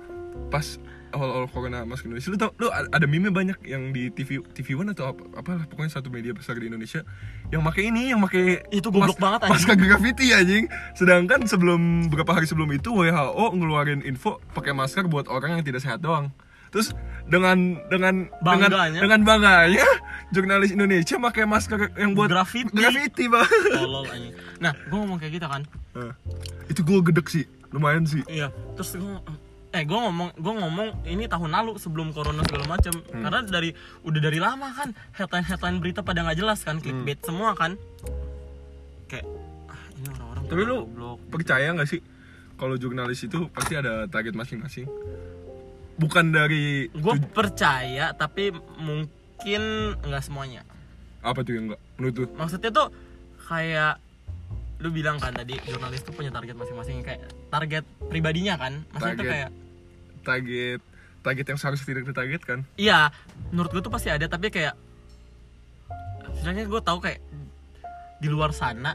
S2: pas awal-awal corona masuk Indonesia lu tau lu a- ada meme banyak yang di TV TV One atau apa apalah pokoknya satu media besar di Indonesia yang pakai ini yang pakai
S1: Itu goblok banget, anjing.
S2: masker graffiti anjing sedangkan sebelum beberapa hari sebelum itu WHO ngeluarin info pakai masker buat orang yang tidak sehat doang terus dengan dengan
S1: Bangganya.
S2: dengan dengan bangganya jurnalis Indonesia pakai masker yang buat
S1: Graffiti.
S2: graffiti bang
S1: Tolol, anjing. nah gue ngomong kayak gitu kan
S2: Nah, itu gue gedek sih lumayan sih
S1: Iya. Terus gue eh gue ngomong gue ngomong ini tahun lalu sebelum corona segala macam
S2: Hmm.
S1: karena dari udah dari lama kan headline headline berita pada nggak jelas kan
S2: Hmm.
S1: clickbait semua kan kayak ah, ini orang-orang
S2: Tapi
S1: pada
S2: lu
S1: goblok.
S2: percaya nggak sih kalau jurnalis itu pasti ada target masing-masing? Bukan dari
S1: gue
S2: tuj-
S1: percaya tapi mungkin nggak semuanya
S2: apa tuh yang enggak menurut lu?
S1: maksudnya tuh kayak lu bilang kan tadi jurnalis tuh punya target masing-masing kayak target pribadinya kan maksudnya tuh
S2: Target.
S1: kayak
S2: target target yang seharusnya tidak ditargetkan.
S1: Iya, menurut gue tuh pasti ada tapi kayak Sebenarnya gue tahu kayak di luar sana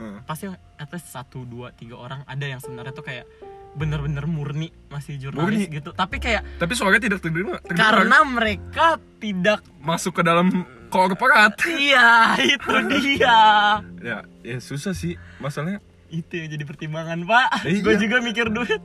S2: Heeh.
S1: pasti at least satu dua tiga orang ada yang sebenarnya tuh kayak bener-bener murni masih jurnalis
S2: Murni.
S1: gitu tapi kayak
S2: tapi suaranya tidak terdengar terdengar.
S1: karena mereka tidak
S2: masuk ke dalam korporat
S1: iya itu dia
S2: ya ya susah sih masalahnya
S1: itu yang jadi pertimbangan pak
S2: Iya.
S1: gue juga mikir duit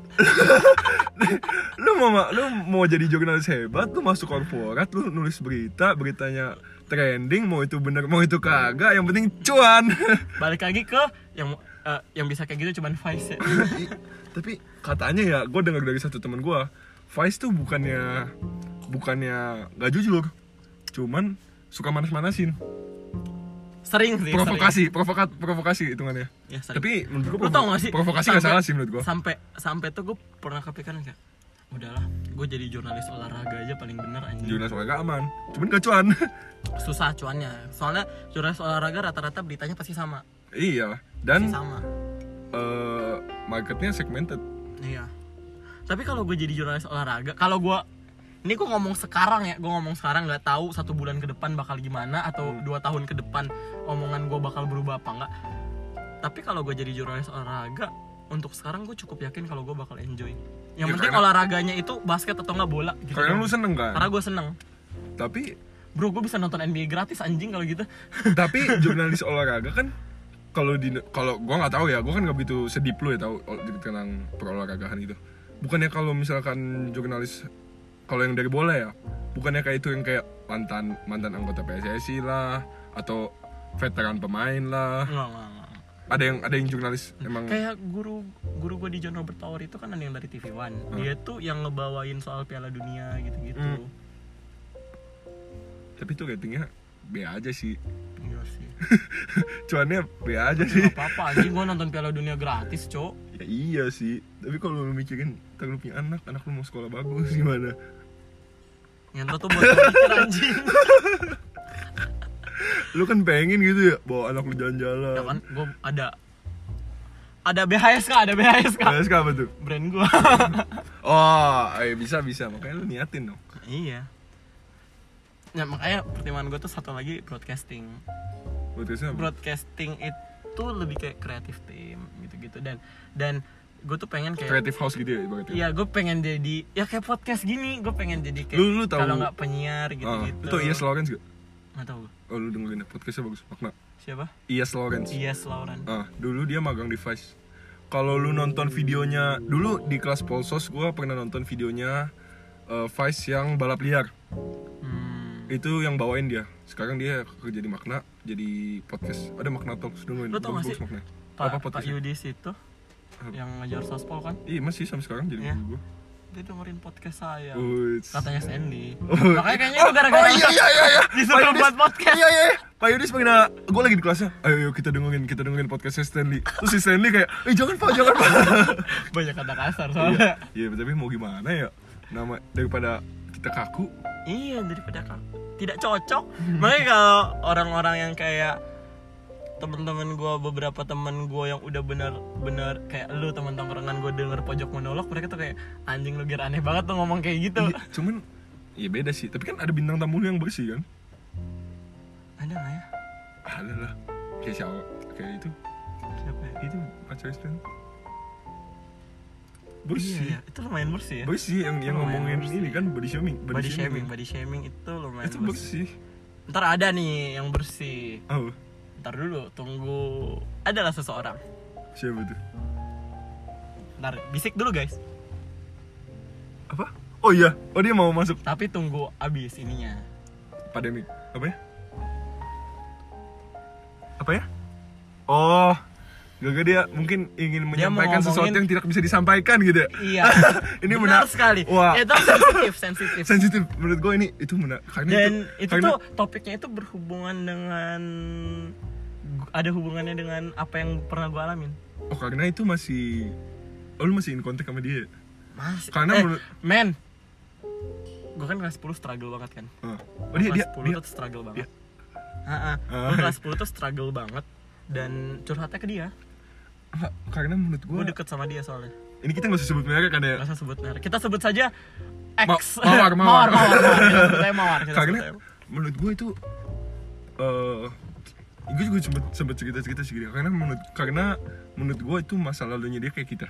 S2: lu mau ma- lu mau jadi jurnalis hebat lu masuk korporat lu nulis berita beritanya trending mau itu bener mau itu kagak yang penting cuan
S1: balik lagi ke yang eh, yang bisa kayak gitu cuman Vice ya.
S2: I- tapi katanya ya gue dengar dari satu teman gue Vice tuh bukannya bukannya gak jujur cuman suka manas-manasin
S1: sering sih
S2: provokasi provokat provokasi hitungannya
S1: sering. Ya, sering.
S2: tapi menurut gue
S1: Lu tau gak sih?
S2: provokasi gak
S1: Sampai-
S2: salah sih menurut gue
S1: sampai sampai tuh gue pernah kepikiran kayak udahlah gue jadi jurnalis olahraga aja paling bener anjing
S2: jurnalis olahraga aman cuman gak cuan
S1: susah cuannya soalnya jurnalis olahraga rata-rata beritanya pasti sama
S2: iya
S1: pasti
S2: dan
S1: sama
S2: eh, marketnya segmented
S1: iya tapi kalau gue jadi jurnalis olahraga kalau gue ini gue ngomong sekarang ya gue ngomong sekarang nggak tahu satu bulan ke depan bakal gimana atau
S2: Hmm.
S1: dua tahun ke depan omongan gue bakal berubah apa enggak tapi kalau gue jadi jurnalis olahraga untuk sekarang gue cukup yakin kalau gue bakal enjoy yang
S2: Ya,
S1: penting
S2: karena-
S1: olahraganya itu basket atau nggak bola gitu
S2: karena lu
S1: doang.
S2: seneng kan
S1: karena gue seneng
S2: tapi
S1: bro gue bisa nonton NBA gratis anjing kalau gitu
S2: tapi jurnalis olahraga kan kalau di kalau gua nggak tahu ya gua kan nggak begitu sedip lu ya tahu ol- tentang perolahragahan gitu bukannya kalau misalkan jurnalis kalau yang dari bola ya bukannya kayak itu yang kayak mantan mantan anggota PSSI lah atau veteran pemain lah
S1: Enggak, enggak, enggak.
S2: ada yang ada yang jurnalis emang
S1: kayak guru guru gue di John Robert Tower itu kan ada yang dari TV One dia tuh yang ngebawain soal Piala Dunia gitu-gitu
S2: Hmm. tapi itu ratingnya B aja sih
S1: Iya sih
S2: cuannya B aja sih
S1: Gak apa-apa anjing gue nonton Piala Dunia gratis cok
S2: ya iya sih tapi kalau lu mikirin ntar lu punya anak anak lu mau sekolah bagus gimana
S1: nyentuh tuh buat gua pikir anjing
S2: lu kan pengen gitu ya bawa anak lu jalan-jalan
S1: ya kan gue ada ada BHS kak ada BHS kak
S2: Terus apa tuh?
S1: brand gue
S2: Oh, eh, bisa bisa makanya lu niatin dong.
S1: iya ya makanya pertimbangan gue tuh satu lagi broadcasting
S2: Podcastnya apa?
S1: broadcasting itu lebih kayak kreatif tim gitu-gitu dan dan gue tuh pengen kayak
S2: Creative House gitu ya ibaratnya.
S1: Iya, gue pengen jadi ya kayak podcast gini, gue pengen jadi kayak
S2: Lu- lu tahu-
S1: kalau nggak penyiar
S2: Ah,
S1: gitu-gitu.
S2: lu tau Ias Lawrence gak?
S1: Nggak tahu gue.
S2: Oh, lu dengerin ya, podcastnya bagus makna.
S1: Siapa?
S2: Ias Lawrence.
S1: Yes Lauren.
S2: Ah, dulu dia magang di Vice. Kalau lu nonton videonya, dulu di kelas Polsos gua pernah nonton videonya eh, Vice yang balap liar. Ah.
S1: Hmm.
S2: Itu yang bawain dia. Sekarang dia kerja di Makna, jadi podcast. Ada Makna Talks dengerin.
S1: Lu tau nggak
S2: bagus-bagus
S1: sih?
S2: Makna. Apa
S1: Pak, Pak
S2: podcastnya?
S1: Yudi situ yang ngajar sospol kan,
S2: Iya, masih sampai sekarang jadi
S1: Iya.
S2: guru gua.
S1: dia dengerin podcast saya.
S2: Uits.
S1: Katanya Sandy.
S2: Oh.
S1: Makanya kayaknya
S2: Oh,
S1: itu gara-gara
S2: Uh. oh, iya iya iya iya.
S1: disuruh
S2: Pak Yudis-
S1: buat podcast.
S2: Iya iya. iya. Pak Yudis pengen gue lagi di kelasnya. Ayo, ayo kita dengerin kita dengerin podcastnya Stanley. Terus si Stanley kayak, eh jangan pak jangan pak.
S1: banyak kata kasar
S2: Iya,
S1: soalnya.
S2: Iya, tapi mau gimana ya? Nama daripada kita kaku.
S1: Iya, daripada kan tidak cocok. Makanya kalau orang-orang yang kayak temen-temen gue beberapa temen gue yang udah benar-benar kayak lu teman tongkrongan gue denger pojok monolog mereka tuh kayak anjing lu gir aneh banget tuh ngomong kayak gitu
S2: Iya, cuman Iya beda sih, tapi kan ada bintang tamu lu yang bersih kan?
S1: ada nggak ya
S2: Ada lah, kayak siapa? Kayak itu,
S1: siapa ya
S2: itu pacar Stanley.
S1: iya
S2: Bersih,
S1: ya itu lumayan bersih ya
S2: bersih yang yang
S1: Lumayan
S2: ngomongin
S1: bersih.
S2: ini kan body shaming,
S1: body shaming body shaming itu lumayan
S2: Itu
S1: bersih.
S2: bersih.
S1: ntar ada nih yang bersih
S2: Oh,
S1: ntar dulu tunggu adalah seseorang
S2: siapa tuh?
S1: ntar bisik dulu guys
S2: apa oh iya oh dia mau masuk
S1: tapi tunggu abis ininya
S2: pandemi apa ya apa ya oh gak dia mungkin ingin
S1: Dia mau
S2: menyampaikan sesuatu
S1: ngomongin-
S2: yang tidak bisa disampaikan gitu ya
S1: iya
S2: ini
S1: benar
S2: benar
S1: sekali Eh,
S2: wah
S1: itu sensitif sensitif
S2: sensitif menurut gue ini itu benar karena
S1: dan itu
S2: karena-
S1: tuh topiknya itu berhubungan dengan ada hubungannya dengan apa yang pernah gue alamin
S2: oh karena itu masih oh lu masih in contact sama dia ya?
S1: mas
S2: Karena
S1: eh,
S2: menurut-
S1: men gue kan kelas 10 struggle banget kan
S2: Ah. oh dia dia,
S1: kelas 10
S2: dia
S1: tuh struggle banget
S2: dia-
S1: Heeh.
S2: Ah.
S1: Gua kelas 10 tuh struggle banget dan curhatnya ke dia
S2: Enggak, karena menurut gue
S1: gue deket sama dia soalnya
S2: ini kita nggak usah sebut merek kan ya
S1: nggak usah sebut merek kita sebut saja X
S2: Ma- mawar, mawar.
S1: mawar mawar, mawar. Kan, Kita sebut aja mawar, kita sebut
S2: karena
S1: aja mawar.
S2: menurut gue itu eh gue juga sempet, sempet cerita-cerita sih gitu. karena menurut karena menurut gue itu masa lalunya dia kayak kita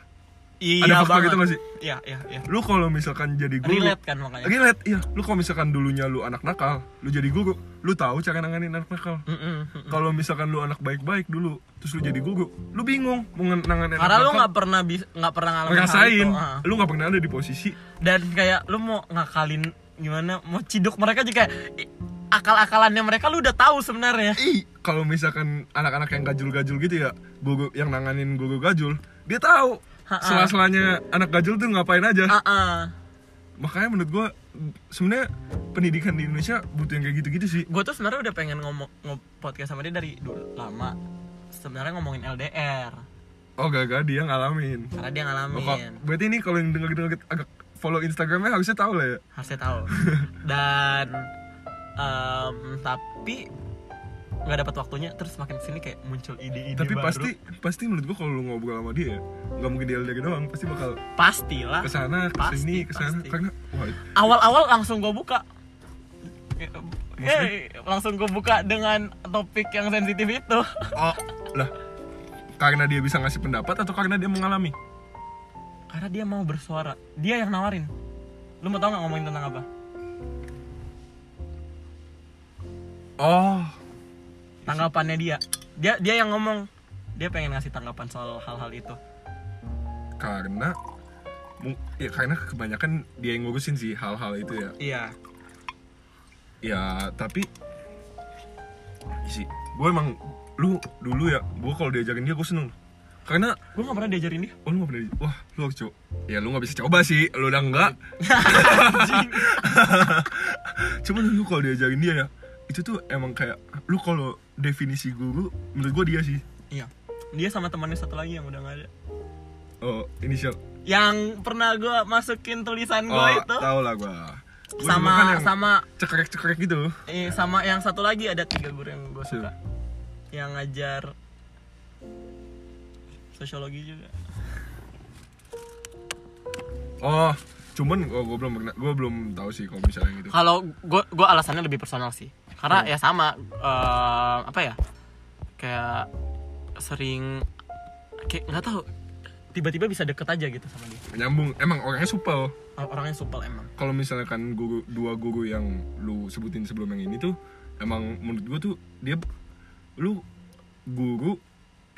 S1: Iya
S2: Ada faktor
S1: banget.
S2: gitu nggak sih?
S1: Iya, iya, iya.
S2: lu kalau misalkan jadi guru
S1: Relate kan makanya.
S2: relate iya lu kalau misalkan dulunya lu anak nakal lu jadi guru lu tahu cara nanganin anak nakal
S1: Mm-mm, mm-mm.
S2: kalau misalkan lu anak baik-baik dulu terus lu jadi guru lu bingung mau ngan- nanganin
S1: Karena
S2: anak
S1: lu
S2: nakal
S1: nggak pernah bis- nggak pernah ngalamin hal
S2: ngerasain
S1: itu, ah.
S2: lu nggak pernah ada di posisi
S1: Dan kayak lu mau ngakalin gimana, mau ciduk mereka juga i- akal-akalannya mereka lu udah tahu sebenarnya.
S2: ih kalau misalkan anak-anak yang gajul-gajul gitu ya guru yang nanganin guru gajul dia tahu
S1: Ha-ha.
S2: sela-selanya anak gajul tuh ngapain aja
S1: Ah,
S2: makanya menurut gua sebenarnya pendidikan di Indonesia butuh yang kayak gitu-gitu sih
S1: Gue tuh sebenarnya udah pengen ngomong podcast sama dia dari dulu lama. Sebenarnya ngomongin LDR
S2: oh gak-gak dia ngalamin
S1: karena dia
S2: Oh, kok-
S1: ngalamin.
S2: berarti ini kalau yang denger-denger agak follow Instagramnya harusnya tahu lah ya
S1: harusnya tahu dan em, tapi nggak dapat waktunya terus makin sini kayak muncul ide-ide
S2: tapi
S1: baru.
S2: pasti pasti menurut gua kalau lu ngobrol sama dia nggak mungkin dia dari doang pasti bakal
S1: pastilah
S2: kesana kesini
S1: Pasti,
S2: kesana
S1: pasti.
S2: karena wah
S1: awal-awal langsung gue buka eh
S2: Maksudnya?
S1: langsung gue buka dengan topik yang sensitif itu
S2: oh lah karena dia bisa ngasih pendapat atau karena dia mengalami
S1: karena dia mau bersuara dia yang nawarin lu mau tau nggak ngomongin tentang
S2: Iya
S1: apa
S2: oh
S1: tanggapannya dia dia dia yang ngomong dia pengen ngasih tanggapan soal hal-hal itu
S2: karena mu- ya karena kebanyakan dia yang ngurusin sih hal-hal itu ya
S1: iya
S2: ya tapi sih gue emang lu dulu ya gue kalau diajakin dia gue seneng karena
S1: gue nggak pernah diajarin dia
S2: oh lu gak pernah di- wah lu harus coba ya lu gak bisa coba sih lu udah enggak cuman lu kalau diajakin dia ya itu tuh emang kayak lu kalau definisi guru menurut gue dia sih
S1: iya dia sama temannya satu lagi yang udah nggak ada
S2: oh inisial
S1: yang pernah gue masukin tulisan gue
S2: oh
S1: itu
S2: tau lah gue Gua
S1: sama
S2: dulu kan yang
S1: sama
S2: cekrek-cekrek gitu
S1: eh, sama yang satu lagi ada tiga guru yang gue suka
S2: Siapa?
S1: yang ngajar sosiologi juga
S2: oh cuman oh, gue belum gue belum tahu sih kalau misalnya gitu
S1: kalau gue gue alasannya lebih personal sih
S2: Hmm.
S1: karena ya sama eh, apa ya kayak sering kayak nggak tahu tiba-tiba bisa deket aja gitu sama dia
S2: nyambung emang orangnya supel
S1: Or- orangnya supel emang
S2: kalau misalkan guru dua guru yang lu sebutin sebelum yang ini tuh emang menurut gua tuh dia lu guru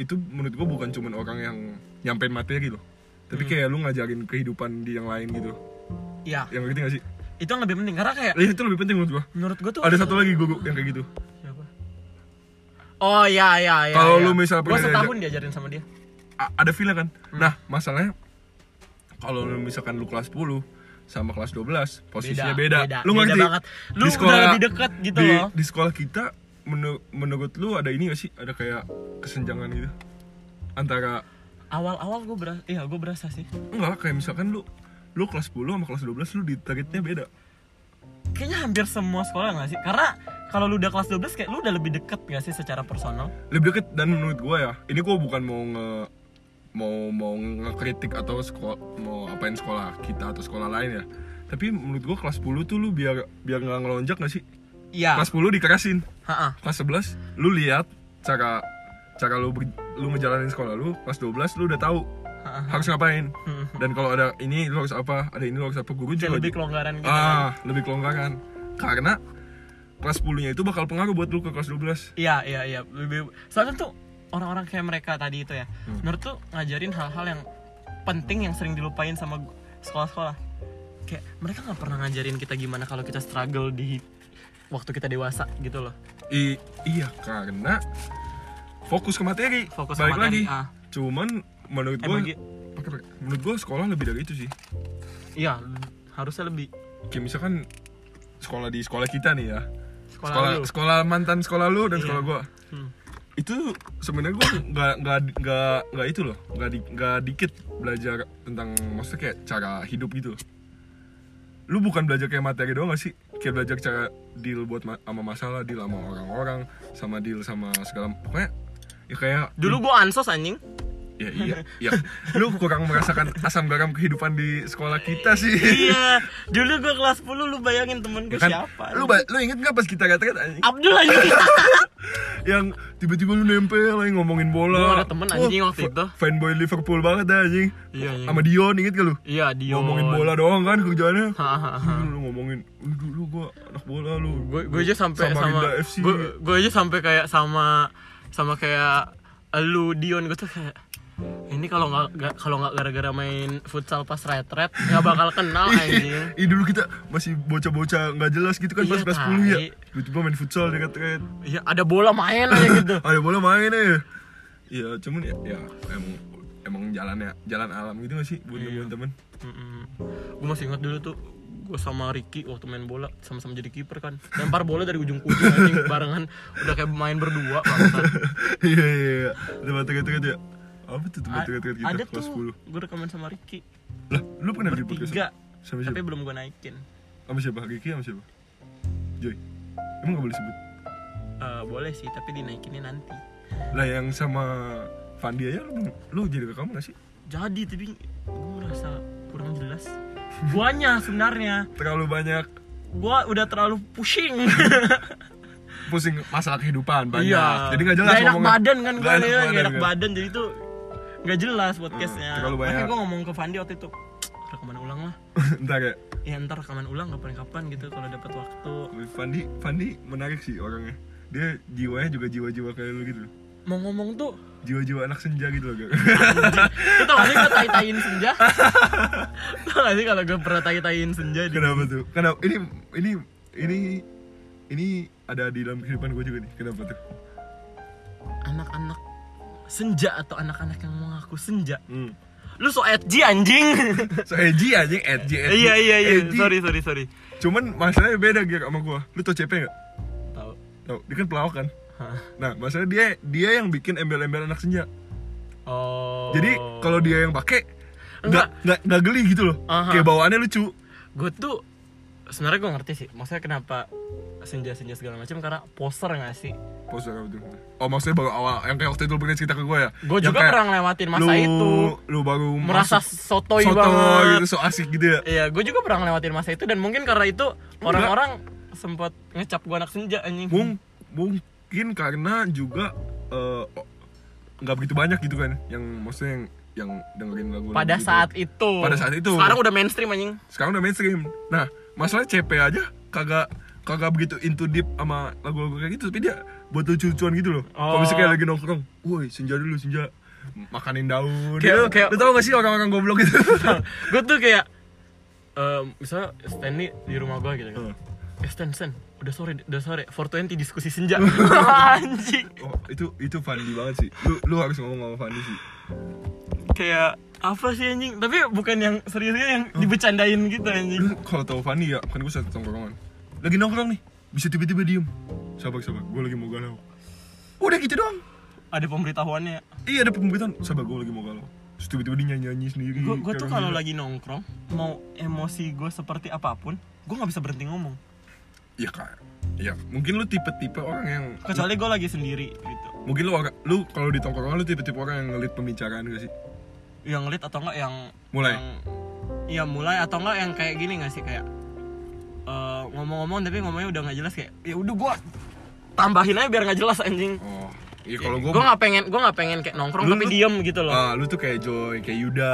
S2: itu menurut gua bukan cuman orang yang nyampein materi loh tapi kayak lu ngajarin kehidupan di yang lain gitu
S1: ya
S2: yang ngerti gak sih
S1: itu yang lebih penting karena kayak
S2: Eh, itu lebih penting menurut gua
S1: menurut gue tuh
S2: ada satu lagi guru yang kayak gitu
S1: Siapa? Oh ya ya ya.
S2: Kalau
S1: ya.
S2: lu misal
S1: gue
S2: pernah
S1: setahun diajarin sama dia.
S2: A- ada fila kan
S1: Hmm.
S2: nah masalahnya kalau lu misalkan lu kelas 10 sama kelas 12 posisinya beda,
S1: beda,
S2: lu
S1: beda
S2: ngerti
S1: banget. Lu udah lebih deket gitu
S2: di,
S1: loh.
S2: di sekolah kita menu- menurut lu ada ini gak sih ada kayak kesenjangan gitu antara
S1: Awal-awal gue berasa, iya gue berasa sih.
S2: enggak kayak misalkan lu lu kelas 10 sama kelas 12 lu ditaritnya beda
S1: Kayaknya hampir semua sekolah gak sih? Karena kalau lu udah kelas 12 kayak lu udah lebih deket gak sih secara personal?
S2: lebih deket dan menurut gua ya ini gua bukan mau nge mau mau ngekritik atau sekolah mau apain sekolah kita atau sekolah lain ya tapi menurut gua kelas 10 tuh lu biar biar nggak ngelonjak gak sih
S1: Iya.
S2: kelas 10 dikerasin
S1: Ha-ha.
S2: kelas 11 lu lihat cara cara lu ber- lu ngejalanin sekolah lu kelas 12 lu udah tahu
S1: Ha-ha.
S2: harus ngapain
S1: Hmm.
S2: dan kalau ada ini lu harus apa ada ini lu harus apa guru
S1: Kayak
S2: juga
S1: lebih kelonggaran gitu. kan.
S2: ah lebih kelonggaran karena kelas 10 nya itu bakal pengaruh buat lu ke kelas 12
S1: Iya iya iya. Lebih. Soalnya tuh orang-orang kayak mereka tadi itu ya.
S2: Hmm.
S1: Menurut tuh ngajarin hal-hal yang penting yang sering dilupain sama gu- sekolah-sekolah. Kayak mereka nggak pernah ngajarin kita gimana kalau kita struggle di waktu kita dewasa gitu loh.
S2: I- iya karena fokus ke materi
S1: Fokus ke
S2: balik
S1: materi,
S2: lagi
S1: ah.
S2: cuman menurut
S1: Eh,
S2: gua
S1: bagi-
S2: Pakai, pakai. menurut gua sekolah lebih dari itu sih
S1: Iya, harusnya lebih
S2: kayak misalkan sekolah di sekolah kita nih ya
S1: sekolah,
S2: sekolah
S1: lu.
S2: sekolah mantan sekolah lu dan
S1: Iya.
S2: sekolah gua
S1: Hmm.
S2: itu sebenarnya gue nggak nggak nggak nggak itu loh nggak di, nggak dikit belajar tentang maksudnya kayak cara hidup gitu loh. lu bukan belajar kayak materi doang gak sih kayak belajar cara deal buat ma- sama masalah deal sama orang-orang sama deal sama segala pokoknya ya kayak
S1: Dulu gua ansos anjing.
S2: ya iya ya lu kurang merasakan asam garam kehidupan di sekolah kita sih
S1: iya dulu gue kelas 10 lu bayangin temen gue
S2: Ya kan?
S1: siapa
S2: lu ba- lu inget nggak pas kita retret anjing
S1: Abdul anjing
S2: yang tiba-tiba lu nempel lagi ngomongin bola
S1: Gua ada temen anjing
S2: Wah,
S1: waktu
S2: fa-
S1: itu.
S2: fanboy Liverpool banget dah anjing
S1: Iya, iya.
S2: sama Dion inget gak lu
S1: iya dia
S2: ngomongin bola doang kan kerjaannya
S1: Hahaha.
S2: Lu- lu ngomongin "Wih, dulu gua anak bola lu
S1: gue gue aja sampai
S2: Sama
S1: sama,
S2: Rinda FC.
S1: gue gue aja sampai kayak sama sama kayak lu Dion gue tuh kayak ini kalau nggak ga- kalau nggak gara-gara main futsal pas retret nggak bakal kenal Ah,
S2: Iya.
S1: anjing
S2: Ih dulu kita masih bocah-bocah nggak jelas gitu kan
S1: Iya,
S2: pas kelas 10 ya
S1: tai.
S2: Tiba-tiba main futsal di retret
S1: iya ada bola main aja gitu
S2: Ada bola main aja Iya cuman ya, ya emang emang jalannya jalan alam gitu gak sih buat
S1: Iya.
S2: temen-temen
S1: gue masih ingat dulu tuh gue sama Ricky waktu main bola sama-sama jadi kiper kan lempar bola dari ujung ke ujung anjing barengan udah kayak main berdua bangsat.
S2: Iya iya iya Tempat retret ya Apa tuh
S1: A-
S2: tempat retret kita
S1: ada
S2: Gitu, kelas
S1: tuh gue rekaman sama Ricky
S2: 10 Lah lu pernah di podcast
S1: tiga
S2: Sama
S1: tapi
S2: siapa?
S1: belum gue naikin
S2: Sama siapa? Ricky sama siapa? Joy Emang gak boleh sebut?
S1: Eh, boleh sih tapi dinaikinnya nanti
S2: Lah yang sama Fandi aja lu, lu jadi rekam gak sih?
S1: jadi tapi gue merasa kurang jelas guanya sebenarnya
S2: Terlalu banyak
S1: gua udah terlalu pushing
S2: pusing masalah kehidupan banyak
S1: Iya.
S2: jadi nggak jelas
S1: Gak enak
S2: ngomongnya.
S1: badan kan gue
S2: Nggak
S1: enak,
S2: badan
S1: enak
S2: kan.
S1: badan jadi tuh nggak jelas podcastnya
S2: Hmm, terlalu
S1: makanya
S2: banyak.
S1: gue ngomong ke Fandi waktu itu rekaman ulang lah
S2: Ntar ya
S1: ya ntar rekaman ulang kapan-kapan gitu kalau dapat waktu
S2: Fandi Fandi menarik sih orangnya dia jiwanya juga jiwa-jiwa kayak lu gitu loh.
S1: mau ngomong tuh
S2: jiwa-jiwa anak senja gitu loh Gak?
S1: lu tau gak sih gue tai-taiin senja tau gak sih kalau gue pernah tai-taiin senja di
S2: kenapa tuh kenapa ini ini ini ini ada di dalam kehidupan gue juga nih kenapa tuh
S1: anak-anak senja atau anak-anak yang mengaku senja
S2: hmm.
S1: lu so edgy anjing
S2: so edgy anjing edgy edgy
S1: iya iya iya
S2: edgy.
S1: sorry sorry sorry
S2: cuman masalahnya beda gitu sama gue lu tau CP nggak
S1: tahu
S2: tau dia kan pelawak kan
S1: Hah.
S2: nah masalahnya dia dia yang bikin embel-embel anak senja
S1: oh
S2: jadi kalau dia yang pakai
S1: Enggak.
S2: nggak nggak nggak geli gitu loh
S1: Aha.
S2: kayak bawaannya lucu
S1: gue tuh sebenarnya gue ngerti sih maksudnya kenapa senja-senja segala macam karena poser gak sih
S2: Poster apa tuh? Oh maksudnya baru awal yang kayak waktu itu lu pernah cerita ke gue ya?
S1: gue
S2: Yang
S1: juga
S2: kayak
S1: pernah ngelewatin masa
S2: lu-
S1: itu
S2: Lu baru
S1: merasa
S2: masuk
S1: sotoy,
S2: sotoy
S1: banget
S2: gitu, so asik gitu ya
S1: iya gue juga pernah ngelewatin masa itu dan mungkin karena itu orang-orang sempat ngecap gue anak senja anjing
S2: Mung- Mungkin karena juga eh, oh, nggak begitu banyak gitu kan Yang maksudnya yang, yang dengerin lagu
S1: pada saat itu
S2: Pada saat itu.
S1: sekarang udah mainstream anjing
S2: Sekarang udah mainstream Nah masalahnya CP aja kagak kagak begitu into deep sama lagu-lagu kayak gitu tapi dia buat lucu-lucuan gitu loh
S1: Oh.
S2: kalau misalnya kayak lagi nongkrong, woi senja dulu senja makanin daun
S1: Kayak-
S2: Gitu.
S1: kayak-
S2: lu tau gak sih orang-orang goblok gitu
S1: gue tuh kayak eh, misalnya Stan nih di rumah gue gitu kan
S2: Hmm.
S1: eh Stan Stan udah sore udah sore 420 diskusi senja anjing
S2: Oh, itu itu Fandi banget sih. Lu lu harus ngomong sama Fandi sih.
S1: kayak apa sih anjing tapi bukan yang seriusnya yang
S2: Hmm.
S1: dibecandain gitu anjing
S2: Lu kalau tahu Fandi ya, kan gue satu tongkrongan. Lagi nongkrong nih, bisa tiba-tiba diem. Sabar sabar, gue lagi mau galau. Udah gitu doang.
S1: ada pemberitahuannya
S2: Iya ada pemberitahuan, sabar gue lagi mau galau. Terus tiba-tiba dia nyanyi-nyanyi sendiri.
S1: gue gue tuh
S2: kayak gitu.
S1: kalau
S2: gila.
S1: lagi nongkrong mau emosi gue seperti apapun gue nggak bisa berhenti ngomong
S2: ya kayak ya mungkin lu tipe-tipe orang yang
S1: kecuali gue lagi sendiri gitu
S2: mungkin lu orang lu kalau di tongkrongan lu tipe-tipe orang yang ngelit pembicaraan gak sih?
S1: yang lead atau enggak yang
S2: Mulai.
S1: yang, ya mulai atau enggak yang kayak gini nggak sih kayak eh, ngomong-ngomong tapi ngomongnya udah nggak jelas kayak ya udah gue tambahin aja biar nggak jelas anjing
S2: Oh, iya kalau
S1: gue
S2: gue
S1: nggak pengen gue nggak pengen kayak nongkrong
S2: Lu-
S1: tapi
S2: lu-
S1: diem gitu loh
S2: Ah, lu tuh kayak Joy, kayak Yuda.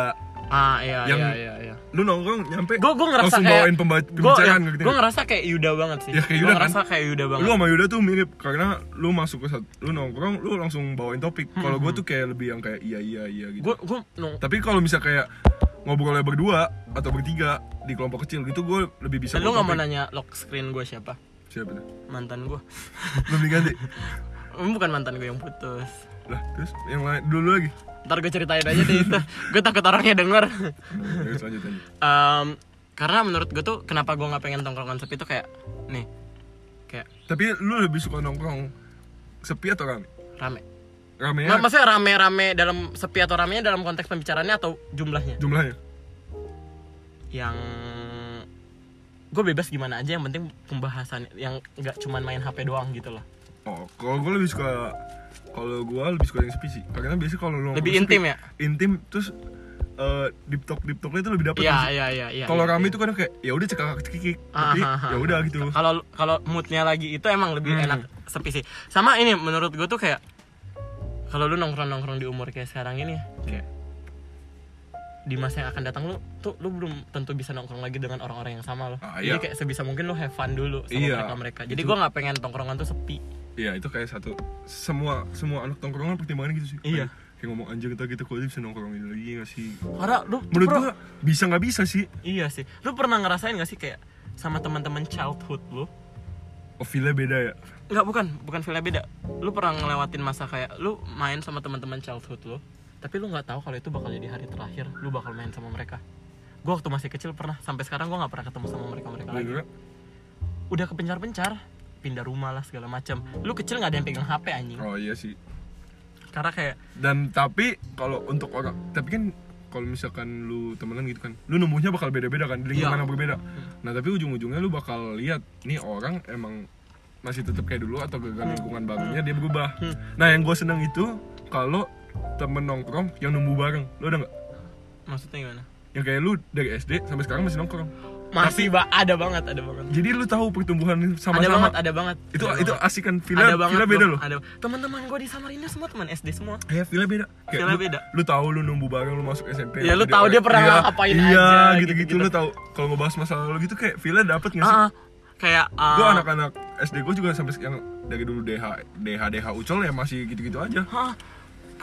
S1: ah iya
S2: yang-
S1: iya iya, iya.
S2: Lu nongkrong nyampe
S1: gue gue ngerasa
S2: langsung
S1: kayak iya,
S2: bawain pemba- pembicaraan gitu.
S1: gue ngerasa kayak Yuda banget sih
S2: Ya, kayak
S1: gue
S2: Yuda,
S1: ngerasa kayak Yuda banget
S2: lu sama Yuda tuh mirip karena lu masuk ke satu, lu nongkrong lu langsung bawain topik
S1: Hmm.
S2: kalau gue tuh kayak lebih yang kayak iya iya iya gitu
S1: gue gue nong
S2: tapi kalau misal kayak ngobrolnya berdua atau bertiga di kelompok kecil gitu gue lebih bisa
S1: lu nggak mau
S2: bawa topik.
S1: nanya lock screen gue siapa
S2: siapa tuh
S1: mantan gue
S2: lebih ganti
S1: bukan mantan gue yang putus
S2: lah terus yang lain dulu lagi
S1: ntar gue ceritain aja deh itu gue takut orangnya denger
S2: terus lanjut lanjut
S1: Em, karena menurut gue tuh kenapa gue nggak pengen tongkrongan sepi tuh kayak nih kayak
S2: tapi lu lebih suka nongkrong sepi atau rame
S1: rame
S2: rame
S1: Nggak, maksudnya rame-rame dalam sepi atau ramenya dalam konteks pembicaraannya atau jumlahnya
S2: jumlahnya
S1: yang gue bebas gimana aja yang penting pembahasan yang nggak cuman main HP doang gitu loh
S2: Oh, kalau gue lebih suka kalau gue lebih suka yang sepi sih. Karena biasanya kalau
S1: Lebih
S2: lu ngobrol sepi,
S1: intim ya?
S2: Intim terus eh deep talk deep talk itu lebih dapet
S1: Iya,
S2: gak sih?
S1: iya, iya, iya.
S2: Kalau
S1: iya, iya.
S2: rame itu kadang kayak ya udah cekak cekikik, tapi
S1: Ah, ah, ah.
S2: ya udah gitu.
S1: Kalau kalau moodnya lagi itu emang lebih
S2: Hmm.
S1: enak sepi sih. Sama ini menurut gue tuh kayak kalau lu nongkrong-nongkrong di umur kayak sekarang ini ya, kayak di masa yang akan datang lu tuh lu belum tentu bisa nongkrong lagi dengan orang-orang yang sama lo.
S2: Ah,
S1: Jadi
S2: iya.
S1: kayak sebisa mungkin lu have fun dulu sama
S2: Iya,
S1: mereka-mereka. Jadi
S2: betul.
S1: gua nggak pengen tongkrongan tuh sepi.
S2: Iya, itu kayak satu semua semua anak tongkrongan pertimbangannya gitu sih.
S1: Iya.
S2: Kayak, kayak ngomong anjir kita gitu kok dia bisa nongkrong gitu lagi gak sih?
S1: Karena lu
S2: Menurut
S1: bro,
S2: gua bisa nggak bisa sih?
S1: iya sih. Lu pernah ngerasain gak sih kayak sama teman-teman childhood lu?
S2: Ovila beda ya.
S1: Enggak, bukan, bukan feelnya beda. Lu pernah ngelewatin masa kayak lu main sama teman-teman childhood lu, tapi lu nggak tahu kalau itu bakal jadi hari terakhir lu bakal main sama mereka. Gua waktu masih kecil pernah, sampai sekarang gua nggak pernah ketemu sama mereka-mereka lagi.
S2: Menurut gua,
S1: Udah kepencar-pencar, pindah rumah lah segala macam. Lu kecil nggak ada yang pegang HP anjing.
S2: Oh iya sih.
S1: Karena kayak
S2: Dan tapi kalau untuk orang, tapi kan kalau misalkan lu temenan gitu kan, lu nemunya bakal beda-beda kan, di lingkungan
S1: Iya.
S2: yang berbeda. Nah tapi ujung-ujungnya lu bakal lihat nih orang emang masih tetap kayak dulu atau gagal lingkungan barunya dia berubah.
S1: Hmm.
S2: Nah yang gue seneng itu kalau temen nongkrong yang nemu bareng, lu ada nggak?
S1: maksudnya gimana?
S2: Yang kayak lu dari SD sampai sekarang masih nongkrong.
S1: Masih ba ada banget, ada banget.
S2: Jadi lu tahu pertumbuhan
S1: ada banget,
S2: sama-sama.
S1: ada banget.
S2: Itu
S1: ada
S2: itu
S1: banget.
S2: asik kan, Villa,
S1: ada banget.
S2: Villa beda
S1: bro.
S2: loh.
S1: Ada. Teman-teman gua di Samarinda semua teman SD semua.
S2: Kayak Villa Iya, beda. Kayak
S1: Villa
S2: lu-
S1: beda.
S2: Lu tahu lu nunggu bareng lu masuk SMP.
S1: Iya, lu
S2: jadi
S1: tahu
S2: orang-
S1: dia pernah
S2: iya,
S1: ngapain
S2: iya,
S1: aja,
S2: gitu-gitu
S1: gitu-gitu.
S2: lu tahu. Kalau ngebahas masalah lu gitu kayak Villa dapet nggak sih?
S1: Ah, ah. kayak ah,
S2: Gue anak-anak SD gue juga sampai yang dari dulu DH DH DH Ucol ya masih gitu-gitu aja.
S1: Hah,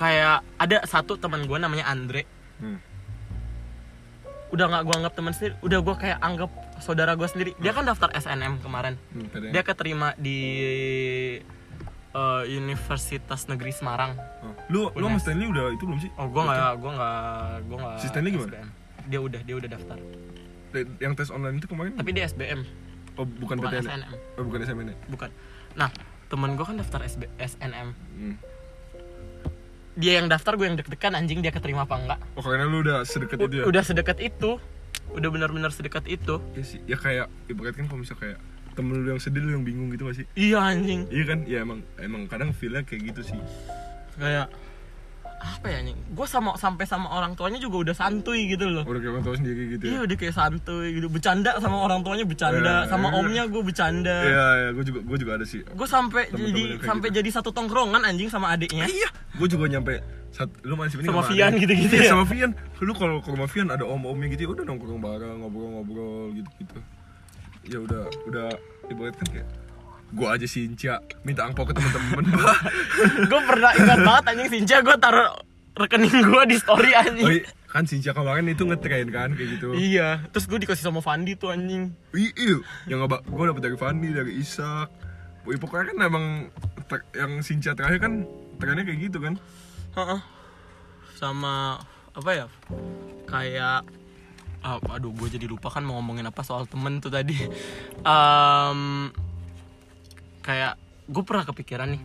S1: kayak ada satu teman gue namanya Andre.
S2: Hmm.
S1: Udah nggak gue anggap teman sendiri, udah gue kayak anggap saudara gue sendiri. Dia kan daftar SNM kemarin.
S2: Hmm, katanya.
S1: Dia keterima di eh, Universitas Negeri Semarang.
S2: Oh. Lu lu sama
S1: Unes.
S2: Stanley udah itu belum sih?
S1: Oh, gue nggak, gue nggak, gue nggak.
S2: Si Stanley gimana?
S1: SBM. Dia udah, dia udah daftar.
S2: Te- Yang tes online itu kemarin
S1: Tapi dia SBM,
S2: oh, bukan,
S1: bukan
S2: PTN. ya?
S1: SNM,
S2: Oh, bukan SMN. ya?
S1: bukan. Nah, teman gue kan daftar SB, SNM.
S2: Hmm.
S1: Dia yang daftar, gue yang deg-degan anjing dia keterima apa enggak.
S2: Oh karena lu udah sedekat itu ya.
S1: Udah sedekat itu, udah benar-benar sedekat itu.
S2: Iya sih. Ya kayak ibaratkan kalau misal kayak temen lu yang sedih lu yang bingung gitu masih.
S1: Iya anjing.
S2: Iya kan? Ya emang emang kadang feel-nya kayak gitu sih.
S1: kayak apa ya anjing gue sama sampai sama orang tuanya juga udah santuy gitu loh
S2: Udah kayak orang tahu sendiri gitu.
S1: iya
S2: Ya.
S1: udah kayak santuy gitu bercanda sama orang tuanya bercanda
S2: Iya,
S1: sama
S2: iya.
S1: omnya gue bercanda
S2: Iya, iya, gue juga gue juga ada sih.
S1: gue sampai
S2: Temen-temen
S1: jadi
S2: yang kayak
S1: sampai
S2: gitu.
S1: jadi satu tongkrongan anjing sama adiknya
S2: Iya, gue juga nyampe saat lu masih
S1: Sama Vian gitu-gitu ya?
S2: Iya, Sama Vian, lu kalau ke rumah Vian ada om-omnya gitu, ya udah nongkrong bareng, ngobrol-ngobrol gitu-gitu. Ya udah, udah ibaratkan kayak gue aja si Inca minta angpau ke temen-temen Pak.
S1: gue pernah ingat banget anjing Sinja gue taruh rekening gue di story
S2: Oh,
S1: anjing
S2: iya, kan si Inca kemarin itu ngetrain kan kayak gitu.
S1: iya terus gue dikasih sama Fandi tuh anjing
S2: Iya, iya. yang gue dapet dari Fandi, dari Isak. Wih, pokoknya kan emang ter- yang Sinca terakhir kan trennya kayak gitu kan.
S1: Heeh. sama apa ya kayak ah, aduh gue jadi lupa kan mau ngomongin apa soal temen tuh tadi Em, kayak gue pernah kepikiran nih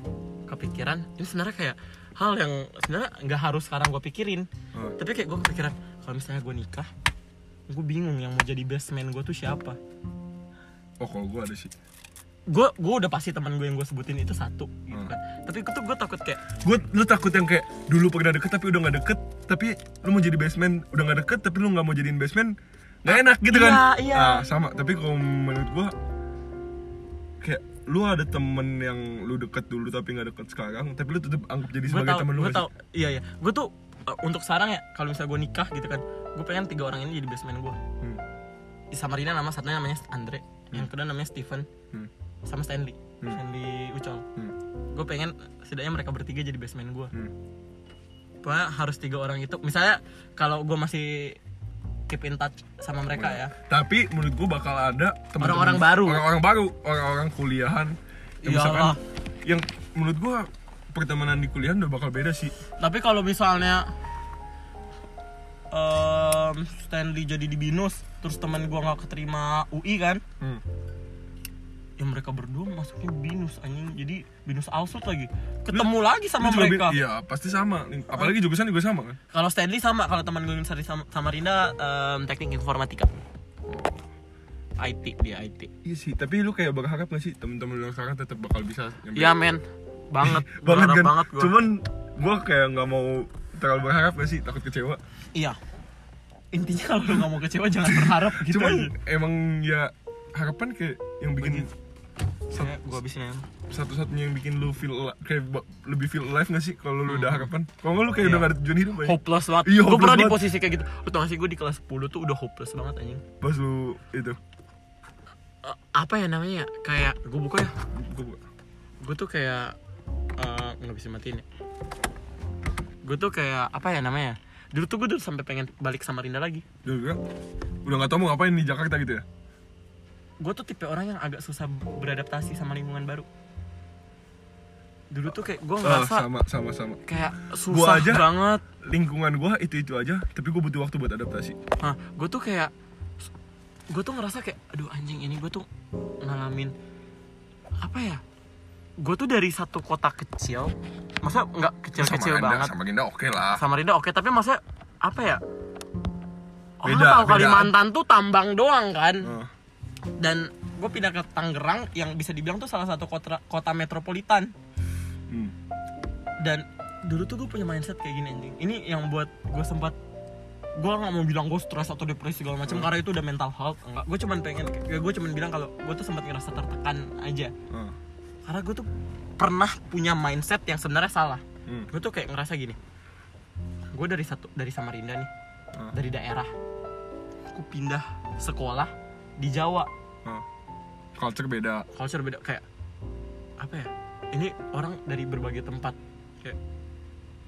S1: kepikiran ini sebenarnya kayak hal yang sebenarnya nggak harus sekarang gue pikirin
S2: Hmm.
S1: tapi kayak gue kepikiran kalau misalnya gue nikah gue bingung yang mau jadi best man gue tuh siapa
S2: Oh, kalau gue ada sih.
S1: gue gue udah pasti teman gue yang gue sebutin itu satu gitu
S2: Hmm.
S1: kan tapi itu gue takut kayak
S2: gue lu takut yang kayak dulu pernah deket tapi udah nggak deket tapi lu mau jadi basement udah nggak deket tapi lu nggak mau jadiin basement nggak enak gitu kan
S1: Iya, iya.
S2: Ah, sama tapi kalau menurut gue kayak lu ada temen yang lu deket dulu tapi nggak deket sekarang tapi lu tetap anggap jadi
S1: gue
S2: sebagai
S1: tau,
S2: temen
S1: gue
S2: lu nggak
S1: tau, iya iya, gue tuh uh, untuk sekarang ya kalau misalnya gue nikah gitu kan, gue pengen tiga orang ini jadi best man gue.
S2: sih? Hmm,
S1: Sama Rina nama satunya namanya Andre, yang kedua namanya Steven,
S2: hmm,
S1: sama Stanley,
S2: Hmm.
S1: Stanley Ucol.
S2: hmm,
S1: Gue pengen setidaknya mereka bertiga jadi best man gue.
S2: hmm.
S1: Pokoknya harus tiga orang itu. Misalnya kalau gue masih keep in touch sama mereka ya,
S2: tapi menurut gue bakal ada temen-temen-
S1: Orang-orang baru. Ya
S2: orang-orang baru orang-orang kuliahan
S1: Iyalah.
S2: yang misalkan yang menurut gue pertemanan di kuliahan udah bakal beda sih
S1: Tapi kalau misalnya em, Stanley jadi di Binus, terus teman gua nggak keterima UI kan?
S2: Hmm.
S1: Ya mereka berdua masuknya Binus anjing. Jadi Binus Alsut lagi. Ketemu lagi sama
S2: Lu juga
S1: mereka. Oh.
S2: bi- iya pasti sama apalagi jurusan juga sama kan
S1: Kalau Stanley sama, kalau teman gue yang dari Sam- Samarinda em, teknik informatika. IT dia IT
S2: Iya sih, tapi lu kayak berharap gak sih temen-temen lu sekarang tetap bakal bisa nyampe?
S1: ya men banget
S2: banget
S1: Berharap
S2: kan?
S1: banget gua.
S2: Cuman gua kayak nggak mau terlalu berharap gak sih, takut kecewa.
S1: iya intinya kalau lu nggak mau kecewa jangan berharap gitu
S2: Cuman emang ya harapan kayak yang bikin
S1: Saya- gua habisin ya
S2: satu-satunya yang bikin lu feel al- kayak ba- lebih feel alive gak sih kalau lu udah harapan? Kalau nggak lu kayak
S1: Iya.
S2: udah gak ada tujuan hidup aja.
S1: hopeless banget
S2: Iya,
S1: gue
S2: hopeless
S1: pernah di
S2: banget.
S1: posisi kayak gitu lu tau gak sih gue di kelas 10 tuh udah hopeless banget anjing
S2: Pas lu itu,
S1: Eh, apa ya namanya ya? kayak gue buka ya
S2: gua buka.
S1: gue tuh kayak eh, nggak bisa matiin ya gue tuh kayak apa ya namanya dulu tuh gue udah sampai pengen balik Samarinda lagi
S2: Dia bilang, udah gak tau mau ngapain di Jakarta gitu ya?
S1: gue tuh tipe orang yang agak susah beradaptasi sama lingkungan baru dulu tuh kayak gue
S2: Ah,
S1: ngerasa
S2: sama, sama, sama.
S1: kayak susah
S2: aja.
S1: banget
S2: Lingkungan gua itu-itu aja, tapi gua butuh waktu buat adaptasi.
S1: nah gue tuh kayak gue tuh ngerasa kayak aduh anjing ini gue tuh ngalamin apa ya gue tuh dari satu kota kecil masa nggak kecil-kecil
S2: Samarinda,
S1: banget
S2: Samarinda oke lah.
S1: Samarinda oke tapi masa apa ya orang
S2: Beda,
S1: tahu
S2: beda.
S1: Kalimantan tuh tambang doang kan
S2: Ah.
S1: dan gue pindah ke Tangerang yang bisa dibilang tuh salah satu kota kota metropolitan
S2: Hmm.
S1: dan dulu tuh gue punya mindset kayak gini anjing ini yang buat gue sempat gue nggak mau bilang gue stres atau depresi segala
S2: Hmm.
S1: macam karena itu udah mental health enggak gue cuman pengen gue cuman bilang kalau gue tuh sempat ngerasa tertekan aja
S2: Ah.
S1: karena gue tuh pernah punya mindset yang sebenarnya salah
S2: Hmm.
S1: gue tuh kayak ngerasa gini gue dari satu dari Samarinda nih
S2: Ah.
S1: dari daerah gue pindah sekolah di Jawa
S2: Ah. Culture beda.
S1: culture beda kayak apa ya ini orang dari berbagai tempat kayak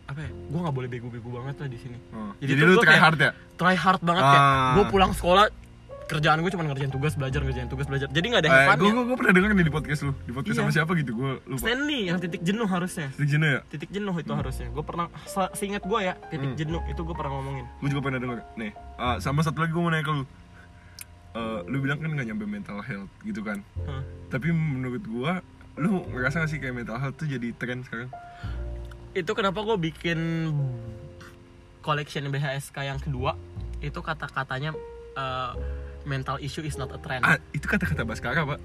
S1: apa ya gue nggak boleh bego-bego banget lah di sini
S2: Ah.
S1: Jadi
S2: Jadi,
S1: tuh
S2: lu
S1: gua
S2: try
S1: kayak-
S2: hard ya?
S1: try hard banget kayak
S2: Ah.
S1: gue pulang sekolah kerjaan gue cuma ngerjain tugas belajar ngerjain tugas belajar jadi nggak ada ya.
S2: Eh,
S1: hevannya
S2: gue, gue, pernah denger nih di podcast lu Di podcast
S1: Iya.
S2: sama siapa gitu, gue lupa
S1: Stanley yang titik jenuh harusnya
S2: Stik Jena ya?
S1: titik jenuh itu harusnya gue pernah se- seingat gue ya titik
S2: Hmm.
S1: jenuh itu gue pernah ngomongin
S2: Gue juga pernah denger Nih, ah, sama satu lagi gue mau nanya ke lu Eh, Lu bilang kan gak nyampe mental health gitu kan
S1: Hah.
S2: Tapi menurut gue, lu ngerasa gak sih kayak mental health tuh jadi tren sekarang?
S1: itu kenapa gue bikin collection BHSK yang kedua itu kata-katanya eh, mental issue is not a trend
S2: Ah, itu kata-kata Baskara pak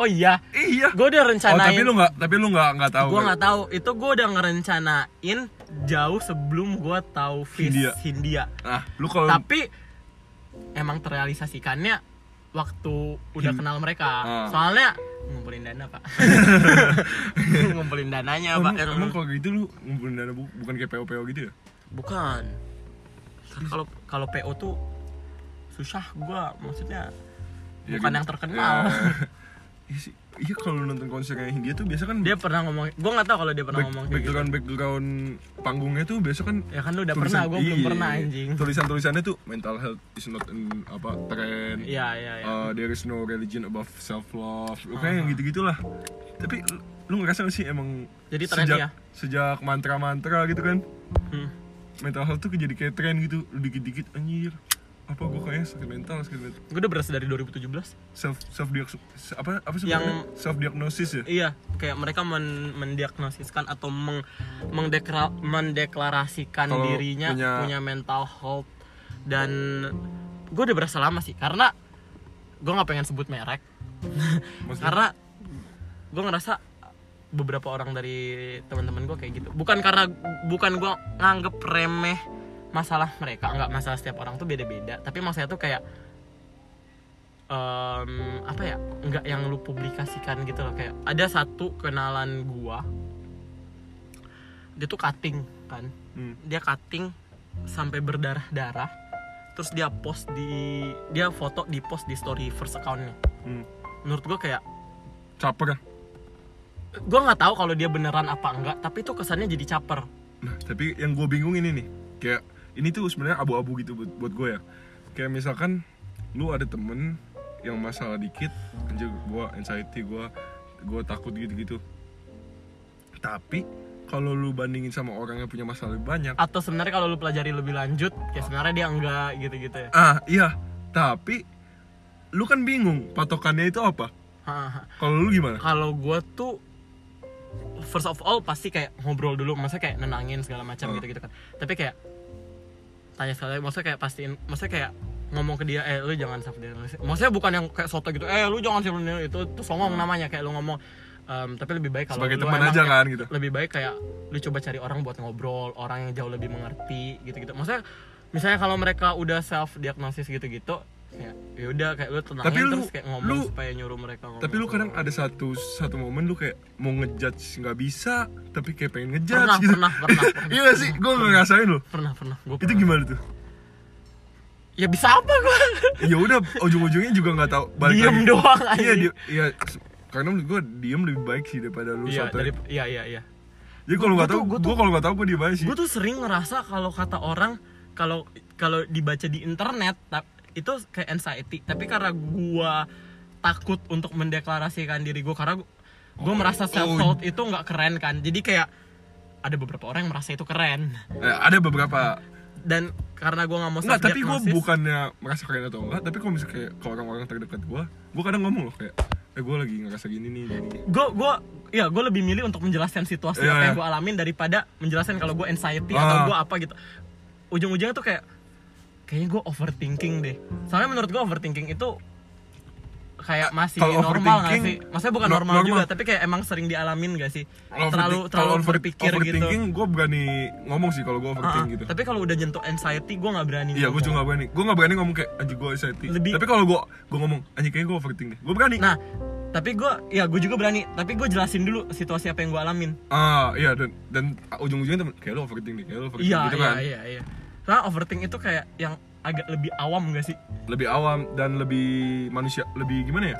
S1: oh iya
S2: Iya
S1: gue udah
S2: Oh
S1: rencanain
S2: tapi lu gak, tapi lu gak, gak tau
S1: gue nggak tahu itu gue udah ngerencanain jauh sebelum gue tahu Fis
S2: Hindia.
S1: Hindia,
S2: Nah, lu kalau
S1: tapi emang terrealisasikannya waktu udah
S2: Hin-
S1: kenal mereka
S2: Ah.
S1: soalnya ngumpulin dana pak ngumpulin dananya
S2: emang,
S1: Iya, pak ya,
S2: emang kalau gitu lu ngumpulin dana bu- bukan kayak PO-PO gitu ya?
S1: bukan Kan kalau kalau PO tuh susah gue maksudnya
S2: Iya
S1: bukan
S2: kan?
S1: yang terkenal
S2: Ya. Iya sih. Iya kalau lu nonton konser yang Hindia tuh biasa kan
S1: dia pernah ngomong gue nggak tahu kalau dia pernah
S2: back-
S1: ngomong kayak gitu
S2: background background panggungnya tuh biasa kan
S1: ya kan lu udah
S2: tulisan-
S1: pernah gue belum
S2: iya,
S1: pernah
S2: iya.
S1: anjing
S2: Tulisan-tulisannya tuh mental health is not an apa tren.
S1: iya iya iya
S2: Uh, there is no religion above self love. Oke, yang gitu-gitulah. Tapi lu- lu ngerasa gak sih emang
S1: Jadi tren
S2: sejak
S1: ya?
S2: sejak mantra-mantra gitu kan
S1: Hmm.
S2: mental health tuh jadi kayak tren gitu Lu dikit-dikit anjir apa gue kayaknya sakit mental sakit mental
S1: gue udah berasa dari 2017
S2: self self diagnosis apa apa sih
S1: Yang-
S2: self diagnosis ya
S1: Iya, kayak mereka men- mendiagnosiskan atau meng- mendekra- mendeklarasikan
S2: Kalau
S1: dirinya
S2: punya-
S1: punya... mental health dan gue udah berasa lama sih karena gue nggak pengen sebut merek
S2: Maksudnya?
S1: karena gue ngerasa beberapa orang dari teman-teman gue kayak gitu bukan karena bukan gue nganggep remeh masalah mereka nggak masalah setiap orang tuh beda-beda tapi maksudnya tuh kayak em, apa ya nggak yang lu publikasikan gitu loh kayak ada satu kenalan gua dia tuh cutting kan
S2: Hmm.
S1: dia cutting sampai berdarah darah terus dia post di dia foto di post di story first accountnya
S2: Hmm.
S1: menurut gua kayak
S2: caper
S1: gua nggak tahu kalau dia beneran apa enggak tapi itu kesannya jadi caper
S2: Nah, tapi yang gue bingung ini nih, kayak ini tuh sebenarnya abu-abu gitu buat, buat gue ya. Kayak misalkan lu ada temen yang masalah dikit, anjir gue anxiety, gue gue takut gitu-gitu. Tapi kalau lu bandingin sama orang yang punya masalah lebih banyak,
S1: atau sebenarnya kalau lu pelajari lebih lanjut ya sebenarnya dia enggak gitu-gitu ya
S2: ah iya, tapi lu kan bingung patokannya itu apa?
S1: Hahaha.
S2: Kalau lu gimana?
S1: kalau gue tuh first of all pasti kayak ngobrol dulu maksudnya kayak nenangin segala macam
S2: Hmm.
S1: gitu gitu kan tapi kayak tanya sekali maksudnya kayak pastiin maksudnya kayak ngomong ke dia eh lu jangan self diagnosis maksudnya bukan yang kayak soto gitu eh lu jangan self diagnosis itu itu songong namanya kayak lu ngomong "Em, tapi lebih baik kalau
S2: Hmm. Sebagai
S1: lu
S2: teman
S1: emang
S2: aja
S1: kayak-
S2: kan, gitu.
S1: lebih baik kayak lu coba cari orang buat ngobrol orang yang jauh lebih mengerti gitu gitu maksudnya misalnya kalau mereka udah self diagnosis gitu gitu ya udah kayak lu tenangin
S2: Tapi lu-
S1: terus kayak ngomong
S2: lu-
S1: supaya nyuruh mereka ngomong
S2: tapi lu kadang ada satu satu momen lu kayak mau ngejudge nggak bisa tapi kayak pengen ngejudge
S1: pernah
S2: gitu
S1: pernah pernah pernah
S2: iya gak sih gue ngerasain lo
S1: pernah pernah Gua
S2: itu
S1: pernah.
S2: gimana tuh
S1: ya bisa apa gua
S2: ya udah ujung-ujungnya juga nggak tahu balik
S1: diem
S2: lagi.
S1: doang aja
S2: iya dia iya s- karena menurut gue diem lebih baik sih daripada lu
S1: iya
S2: sotoy.
S1: dari iya iya iya
S2: jadi kalau nggak
S1: gua
S2: tahu
S1: tuh- gua
S2: gue kalau nggak tahu gue diem aja sih
S1: gue tuh sering ngerasa kalau kata orang kalau kalau dibaca di internet ta- itu kayak anxiety tapi karena gua takut untuk mendeklarasikan diri gue karena
S2: Oh.
S1: gue merasa self taught itu nggak keren kan jadi kayak ada beberapa orang yang merasa itu keren
S2: Eh, ada beberapa
S1: dan karena gua nggak mau
S2: Enggak, tapi gue
S1: self-diagnosis,
S2: bukannya merasa keren atau enggak tapi kalau misalnya kayak ke orang-orang terdekat gue gue kadang ngomong loh kayak eh gue lagi ngerasa gini nih gini, gini.
S1: gue gue ya gue lebih milih untuk menjelaskan situasi
S2: Iya,
S1: apa yang
S2: iya.
S1: gue alamin daripada menjelaskan kalau gue anxiety
S2: Ah.
S1: atau gue apa gitu ujung-ujungnya tuh kayak kayaknya gue overthinking deh soalnya menurut gue overthinking itu kayak masih
S2: Kalau
S1: normal gak
S2: overthinking,
S1: sih maksudnya bukan
S2: no-
S1: normal,
S2: normal.
S1: juga tapi kayak emang sering dialamin gak sih terlalu
S2: Kalau overthi-
S1: terlalu
S2: kalau over-
S1: berpikir gitu
S2: overthinking gue berani ngomong sih kalau
S1: Ah,
S2: gue
S1: ah.
S2: overthinking gitu
S1: tapi kalau udah nyentuh anxiety gue nggak berani
S2: Iya, gue
S1: ngomong.
S2: juga gak berani. Gue gak berani ngomong kayak anjing gue anxiety.
S1: Lebih-
S2: Tapi kalau gue gue ngomong anjing kayaknya gue overthinking deh. Gue berani.
S1: nah tapi gue ya gue juga berani tapi gue jelasin dulu situasi apa yang gue alamin
S2: Ah, iya dan dan ujung-ujungnya temen kayak lu overthinking deh, kayak lu overthinking
S1: Iya,
S2: gitu
S1: iya,
S2: kan.
S1: iya, iya. Karena overthink itu kayak yang agak lebih awam gak sih?
S2: Lebih awam dan lebih manusia, lebih gimana ya?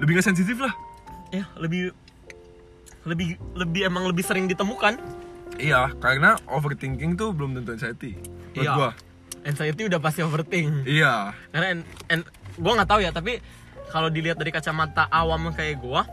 S2: Lebih gak sensitif lah.
S1: Ya,
S2: Iya.
S1: lebih lebih lebih emang lebih sering ditemukan.
S2: Iya, karena overthinking tuh belum tentu anxiety. Menurut
S1: Iya.
S2: gua.
S1: Anxiety udah pasti overthink.
S2: Iya.
S1: Karena en, en- gua nggak tahu ya, tapi kalau dilihat dari kacamata awam kayak gua,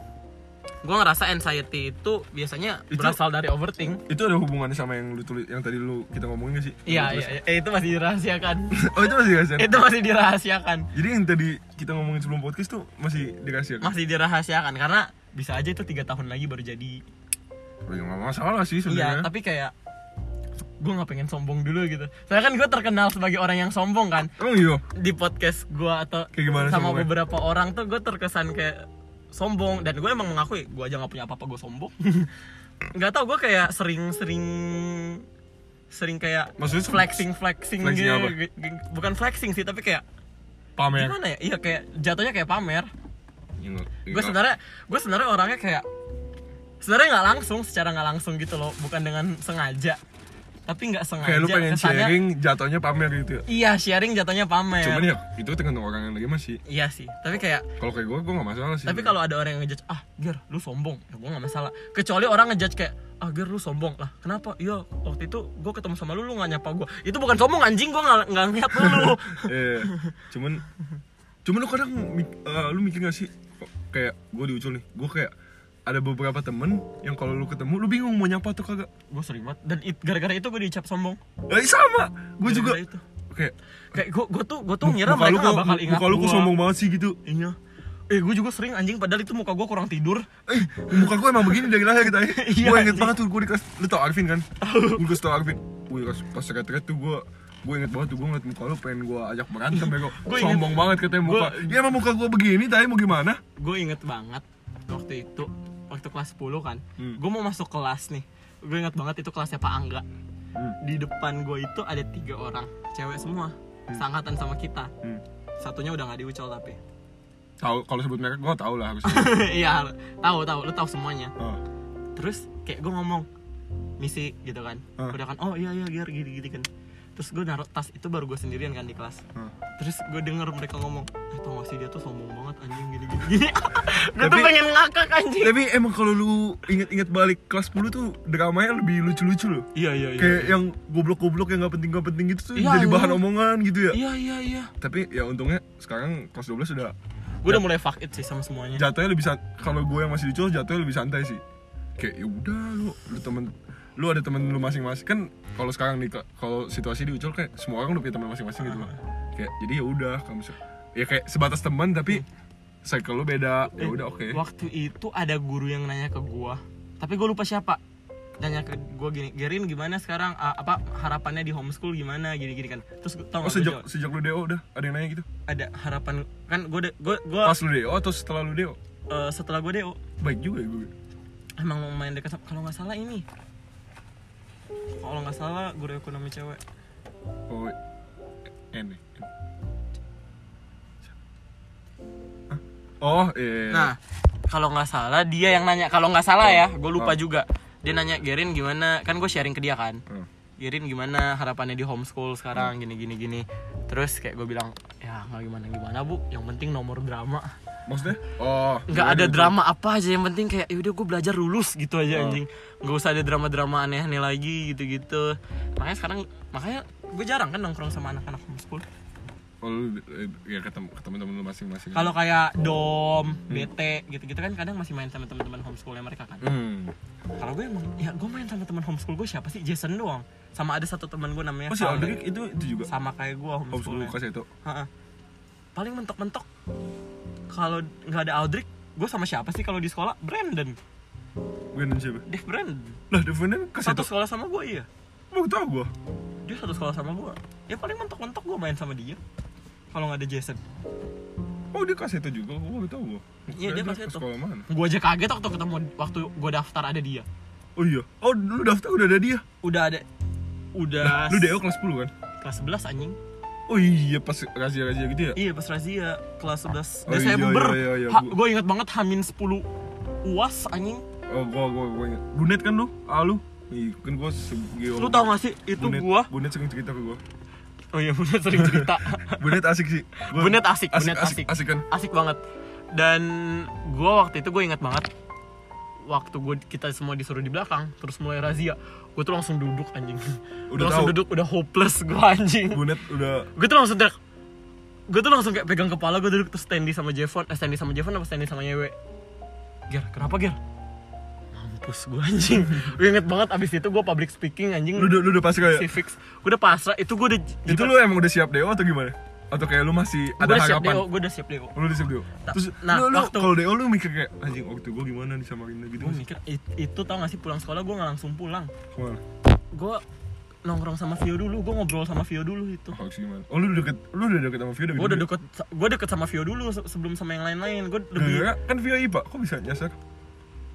S1: gua ngerasa anxiety itu biasanya
S2: Itu-
S1: berasal dari overthink.
S2: Itu ada hubungannya sama yang lu tulis, yang tadi lu kita ngomongin gak sih?
S1: Iya,
S2: Lu
S1: iya,
S2: tulis.
S1: iya. Eh, itu masih dirahasiakan.
S2: Oh, itu masih rahasia.
S1: itu masih dirahasiakan.
S2: Jadi yang tadi kita ngomongin sebelum podcast tuh masih dikasih
S1: Masih dirahasiakan karena bisa aja itu tiga tahun lagi baru jadi
S2: Gak Ya, masalah sih
S1: Iya,
S2: sebenarnya.
S1: tapi kayak gue nggak pengen sombong dulu gitu. Soalnya kan gue terkenal sebagai orang yang sombong kan
S2: Emang iya?
S1: di podcast gue atau
S2: Kayak gimana
S1: sama
S2: sombongnya?
S1: beberapa orang tuh gue terkesan kayak sombong dan gue emang mengakui gue aja nggak punya apa-apa gue sombong. nggak tau gue kayak sering-sering sering kayak
S2: Maksudnya se-
S1: flexing flexing
S2: flexing
S1: gitu.
S2: apa?
S1: Bukan flexing sih tapi kayak
S2: Pamer.
S1: gimana ya? Iya kayak jatuhnya kayak pamer.
S2: Ya nggak- ya
S1: gue
S2: nggak-
S1: sebenarnya gue sebenarnya orangnya kayak sebenarnya nggak langsung secara nggak langsung gitu loh bukan dengan sengaja tapi nggak sengaja
S2: kayak lu pengen
S1: kesannya-
S2: sharing jatuhnya pamer gitu ya
S1: iya sharing jatuhnya pamer
S2: cuman ya itu tergantung orang yang lagi masih
S1: iya sih tapi kayak
S2: kalau kayak gue gue gak masalah sih
S1: tapi kalau ada orang yang ngejudge ah ger lu sombong ya gue nggak masalah kecuali orang ngejudge kayak ah ger lu sombong lah kenapa iya waktu itu gue ketemu sama lu lu nggak nyapa gue itu bukan sombong anjing gue nggak nggak ngeliat lu
S2: eh cuman cuman lu kadang mik- eh, lu mikir gak sih kok kayak gue di Ucul nih gue kayak ada beberapa temen yang kalau lu ketemu lu bingung mau nyapa atau kagak
S1: gue sering banget dan it- gara-gara itu gue dicap sombong
S2: eh sama gue
S1: Gara-gara
S2: juga
S1: itu.
S2: kayak
S1: kayak gue gue tuh gue tuh Iya, ngira
S2: muka lu
S1: mereka
S2: kok-
S1: nggak bakal ingat
S2: muka lu kok
S1: gua.
S2: sombong banget sih gitu
S1: Iya. Eh, gue juga sering anjing padahal itu muka gue kurang tidur.
S2: eh muka gue emang begini dari lahir kita
S1: Iya,
S2: gue inget
S1: anjing.
S2: banget tuh gue dikasih lu tau Arvin kan gue dikasih tau Arvin gue pas pas retret tuh gue gue inget banget tuh gue ngeliat muka lu pengen gue ajak berantem ya kok
S1: Gua inget-
S2: sombong banget katanya muka
S1: gua-
S2: ya emang muka gue begini tadi mau gimana
S1: Gue inget banget waktu itu waktu kelas 10 kan.
S2: Hmm.
S1: Gue mau masuk kelas nih. Gue inget banget itu kelasnya Pak Angga.
S2: Hmm.
S1: Di depan gue itu ada tiga orang cewek semua. Seangkatan sama kita.
S2: hmm.
S1: Satunya udah nggak diucol tapi.
S2: tahu kalau sebut merek gue tau lah harusnya
S1: Iya, tahu tahu lu tahu semuanya.
S2: Ah.
S1: Terus kayak gue ngomong misi gitu kan.
S2: Ah.
S1: Udah kan, oh iya iya gear gini gini kan. Terus gue naruh tas itu baru gue sendirian kan di kelas.
S2: Ah.
S1: terus gue denger mereka ngomong eh tau gak sih dia tuh sombong banget anjing gini gini gini gue tuh
S2: Tapi-
S1: pengen ngakak anjing
S2: tapi emang kalau lu inget-inget balik kelas 10 tuh dramanya lebih lucu-lucu loh
S1: iya iya iya
S2: kayak yang goblok-goblok yang gak penting-gak penting gitu tuh
S1: Iya,
S2: jadi
S1: iya.
S2: bahan omongan gitu ya
S1: iya iya iya
S2: tapi ya untungnya sekarang kelas 12 sudah
S1: gue udah mulai fuck it sih sama semuanya
S2: jatuhnya lebih san- kalau gue yang masih di cowok jatuhnya lebih santai sih kayak ya udah lu lu temen lu ada temen lu masing-masing kan kalau sekarang nih ke- kalau situasi di ucul kayak semua orang udah punya teman masing-masing gitu kan kayak jadi ya udah kamu se- ya kayak sebatas teman tapi cycle lu beda ya
S1: Hmm. Eh,
S2: udah oke
S1: waktu itu ada guru yang nanya ke gue tapi gue lupa siapa nanya ke gue gini Gerin gimana sekarang Ah, apa harapannya di homeschool gimana gini gini kan terus gua- tau
S2: Oh
S1: gak gua
S2: sejak
S1: jawab,
S2: sejak lu DO udah ada yang nanya gitu.
S1: ada harapan kan gue gue gue
S2: Pas lu DO atau setelah lu DO?
S1: eh, setelah gue do
S2: Baik juga ya gue.
S1: emang lumayan dekat sama- kalau nggak salah ini kalau nggak salah guru ekonomi cewek
S2: Oh. eh, N. N. Hah? Oh, iya.
S1: Nah, kalau nggak salah dia yang nanya. Kalau nggak salah ya, gue lupa
S2: Oh.
S1: juga. Dia nanya Gerin gimana? Kan gue sharing ke dia kan.
S2: Hmm.
S1: Gerin gimana harapannya di homeschool sekarang gini gini gini. Terus kayak gue bilang ya nggak gimana gimana bu. Yang penting nomor drama.
S2: Maksudnya? Oh,
S1: Nggak ada drama apa aja yang penting kayak yaudah gue belajar lulus gitu aja
S2: Oh.
S1: anjing. Nggak usah ada drama drama aneh aneh lagi gitu gitu. Makanya sekarang makanya gue jarang kan nongkrong sama anak-anak homeschool.
S2: Oh, lu eh, ya ketemu ketemu temen lu masing-masing.
S1: Kalau kayak dom,
S2: Hmm.
S1: BT gitu-gitu kan kadang masih main sama teman-teman homeschoolnya mereka kan.
S2: Hmm.
S1: kalau gue emang ya gue main sama teman homeschool gue siapa sih Jason doang sama ada satu teman gue namanya
S2: Oh, si
S1: Kale.
S2: Aldrik itu itu juga. Oh,
S1: sama kayak gue homeschool
S2: Homeschool Lukas ya? itu.
S1: paling mentok-mentok kalau nggak ada Aldrik gue sama siapa sih kalau di sekolah Brandon
S2: Gue dan siapa?
S1: Dave Brandon
S2: Lah, Devonnya Lukas
S1: satu
S2: itu.
S1: sekolah sama gue iya
S2: Mau tau gua.
S1: dia satu sekolah sama gue ya paling mentok-mentok gue main sama dia kalau nggak ada Jason
S2: Oh, dia kelas itu juga. Gua enggak tau gua.
S1: Iya, dia kelas
S2: ke
S1: itu.
S2: Sekolah mana?
S1: gue aja kaget waktu ketemu waktu gue daftar ada dia
S2: Oh iya. Oh, lu daftar udah ada dia.
S1: udah ada udah
S2: Lah, lu DO kelas 10 kan?
S1: kelas 11 anjing
S2: Oh iya, pas razia-razia gitu ya.
S1: Iya pas razia kelas 11
S2: Oh, iya,
S1: Desember.
S2: iya, iya, iya, gua-
S1: gue inget banget Hamin 10 uas anjing.
S2: Oh, gua gua gua ingat. Bunet kan lu? Ah, lu. Iya, kan gua segi
S1: Lu tau gak sih itu
S2: Bunet,
S1: gua?
S2: Bunet sering cerita ke gua.
S1: Oh iya Bunet sering cerita.
S2: Bunet asik sih. Gua-
S1: Bunet asik, Bunet asik.
S2: asik. Asik kan?
S1: Asik banget. Dan gua waktu itu gue inget banget waktu gue kita semua disuruh di belakang terus mulai razia gue tuh langsung duduk anjing
S2: Udah
S1: langsung
S2: tahu.
S1: duduk udah hopeless gue anjing
S2: Bunet udah
S1: gue tuh langsung teriak gue tuh langsung kayak pegang kepala gue duduk terus standy sama Jevon eh standy sama Jevon apa standy sama Yewe Ger kenapa Ger mampus gue anjing gue inget banget abis itu gue public speaking anjing
S2: lu udah lu udah pas kayak
S1: civics gue udah pasrah itu gue udah
S2: itu lu emang udah siap DO atau gimana? Atau kayak lu masih
S1: ada
S2: ada
S1: udah siap
S2: harapan?
S1: Deo gue udah siap Deo
S2: Lu udah siap DO.
S1: Ta-
S2: Terus
S1: nah,
S2: lu, lu
S1: waktu-
S2: kalau DO lu mikir kayak anjing waktu gua gimana di Samarinda gitu.
S1: gue mikir "It- itu tau gak sih pulang sekolah gue gak langsung pulang
S2: Gimana?
S1: gue nongkrong sama Vio dulu gue ngobrol sama Vio dulu itu
S2: Oh, harus gimana? Oh, lu udah deket lu udah deket sama Vio udah
S1: gue udah
S2: gede-gede.
S1: deket gue deket sama Vio dulu se- sebelum sama yang lain-lain gue lebih
S2: Gara-gara kan Vio IPA, kok bisa nyasar?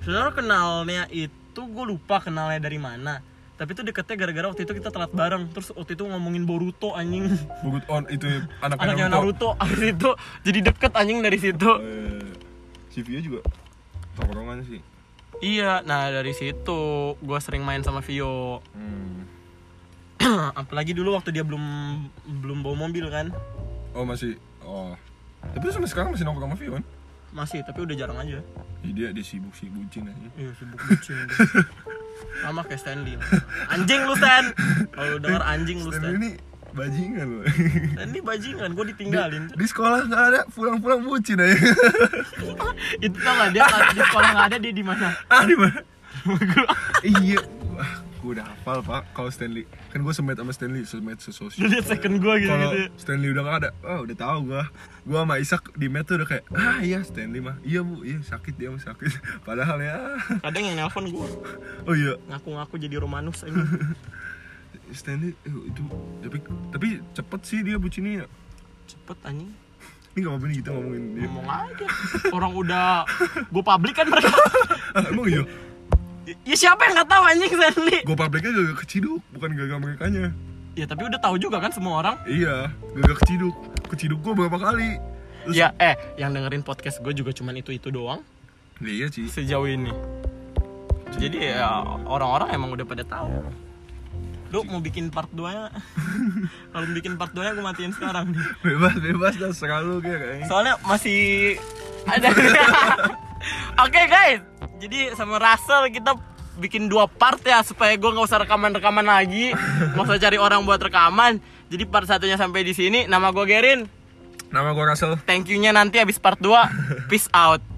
S1: Sebenarnya kenalnya itu gue lupa kenalnya dari mana. Tapi itu deketnya gara-gara waktu itu kita telat bareng. Terus waktu itu ngomongin Boruto anjing.
S2: Bugut on itu ya, anaknya
S1: Anaknya
S2: Naruto.
S1: Naruto. Abis itu jadi deket anjing dari situ.
S2: Eh, si Vio juga tongkrongan sih.
S1: iya, nah dari situ gue sering main sama Vio.
S2: Hmm.
S1: Apalagi dulu waktu dia belum belum bawa mobil kan.
S2: Oh, masih oh. Tapi lu sampai sekarang masih nongkrong sama Vio kan?
S1: Masih, tapi udah jarang aja.
S2: Ih, dia dia sibuk sih bucin aja.
S1: Iya, sibuk bucin. Sama kayak Stanley. Anjing lu Stan. Kalau lu denger anjing lu
S2: Stanley
S1: Stan.
S2: ini bajingan loh.
S1: Stanley bajingan, gue ditinggalin.
S2: Di sekolah nggak ada, pulang-pulang bucin aja.
S1: itu tau gak dia kalau di sekolah nggak ada dia di mana
S2: ah di mana iya gue udah hafal pak kalau Stanley kan gue semet sama Stanley semet
S1: dia
S2: sesosial
S1: liat second gue gitu
S2: kalau
S1: gitu
S2: Stanley udah gak ada wah udah tahu gue gue sama Isak di met tuh udah kayak ah iya Stanley mah iya bu iya sakit dia mah sakit padahal ya
S1: kadang yang nelpon gue
S2: oh iya
S1: ngaku-ngaku jadi Romanus ini
S2: Stanley eh, itu tapi tapi cepet sih dia bucinnya
S1: cepet anjing
S2: ini gak apa-apa nih kita ngomongin dia
S1: ngomong aja orang udah gue publik kan mereka
S2: ah, emang iya
S1: ya siapa yang nggak tahu anjing Stanley
S2: gue publiknya gak keciduk bukan gagal merekanya
S1: ya tapi udah tahu juga kan semua orang
S2: iya gagal keciduk keciduk gue berapa kali Terus-
S1: ya eh yang dengerin podcast gue juga cuman itu itu doang
S2: iya sih
S1: sejauh ini jadi ya orang-orang emang udah pada tahu lu mau bikin part 2 nya kalau mau bikin part 2 nya gue matiin sekarang nih
S2: bebas bebas dah selalu kayak kayaknya
S1: soalnya masih ada oke guys jadi sama Russell kita bikin dua part ya supaya gue nggak usah rekaman-rekaman lagi nggak usah cari orang buat rekaman jadi part satunya sampai di sini nama gue Gerin
S2: nama gue Russell
S1: thank you nya nanti habis part 2 peace out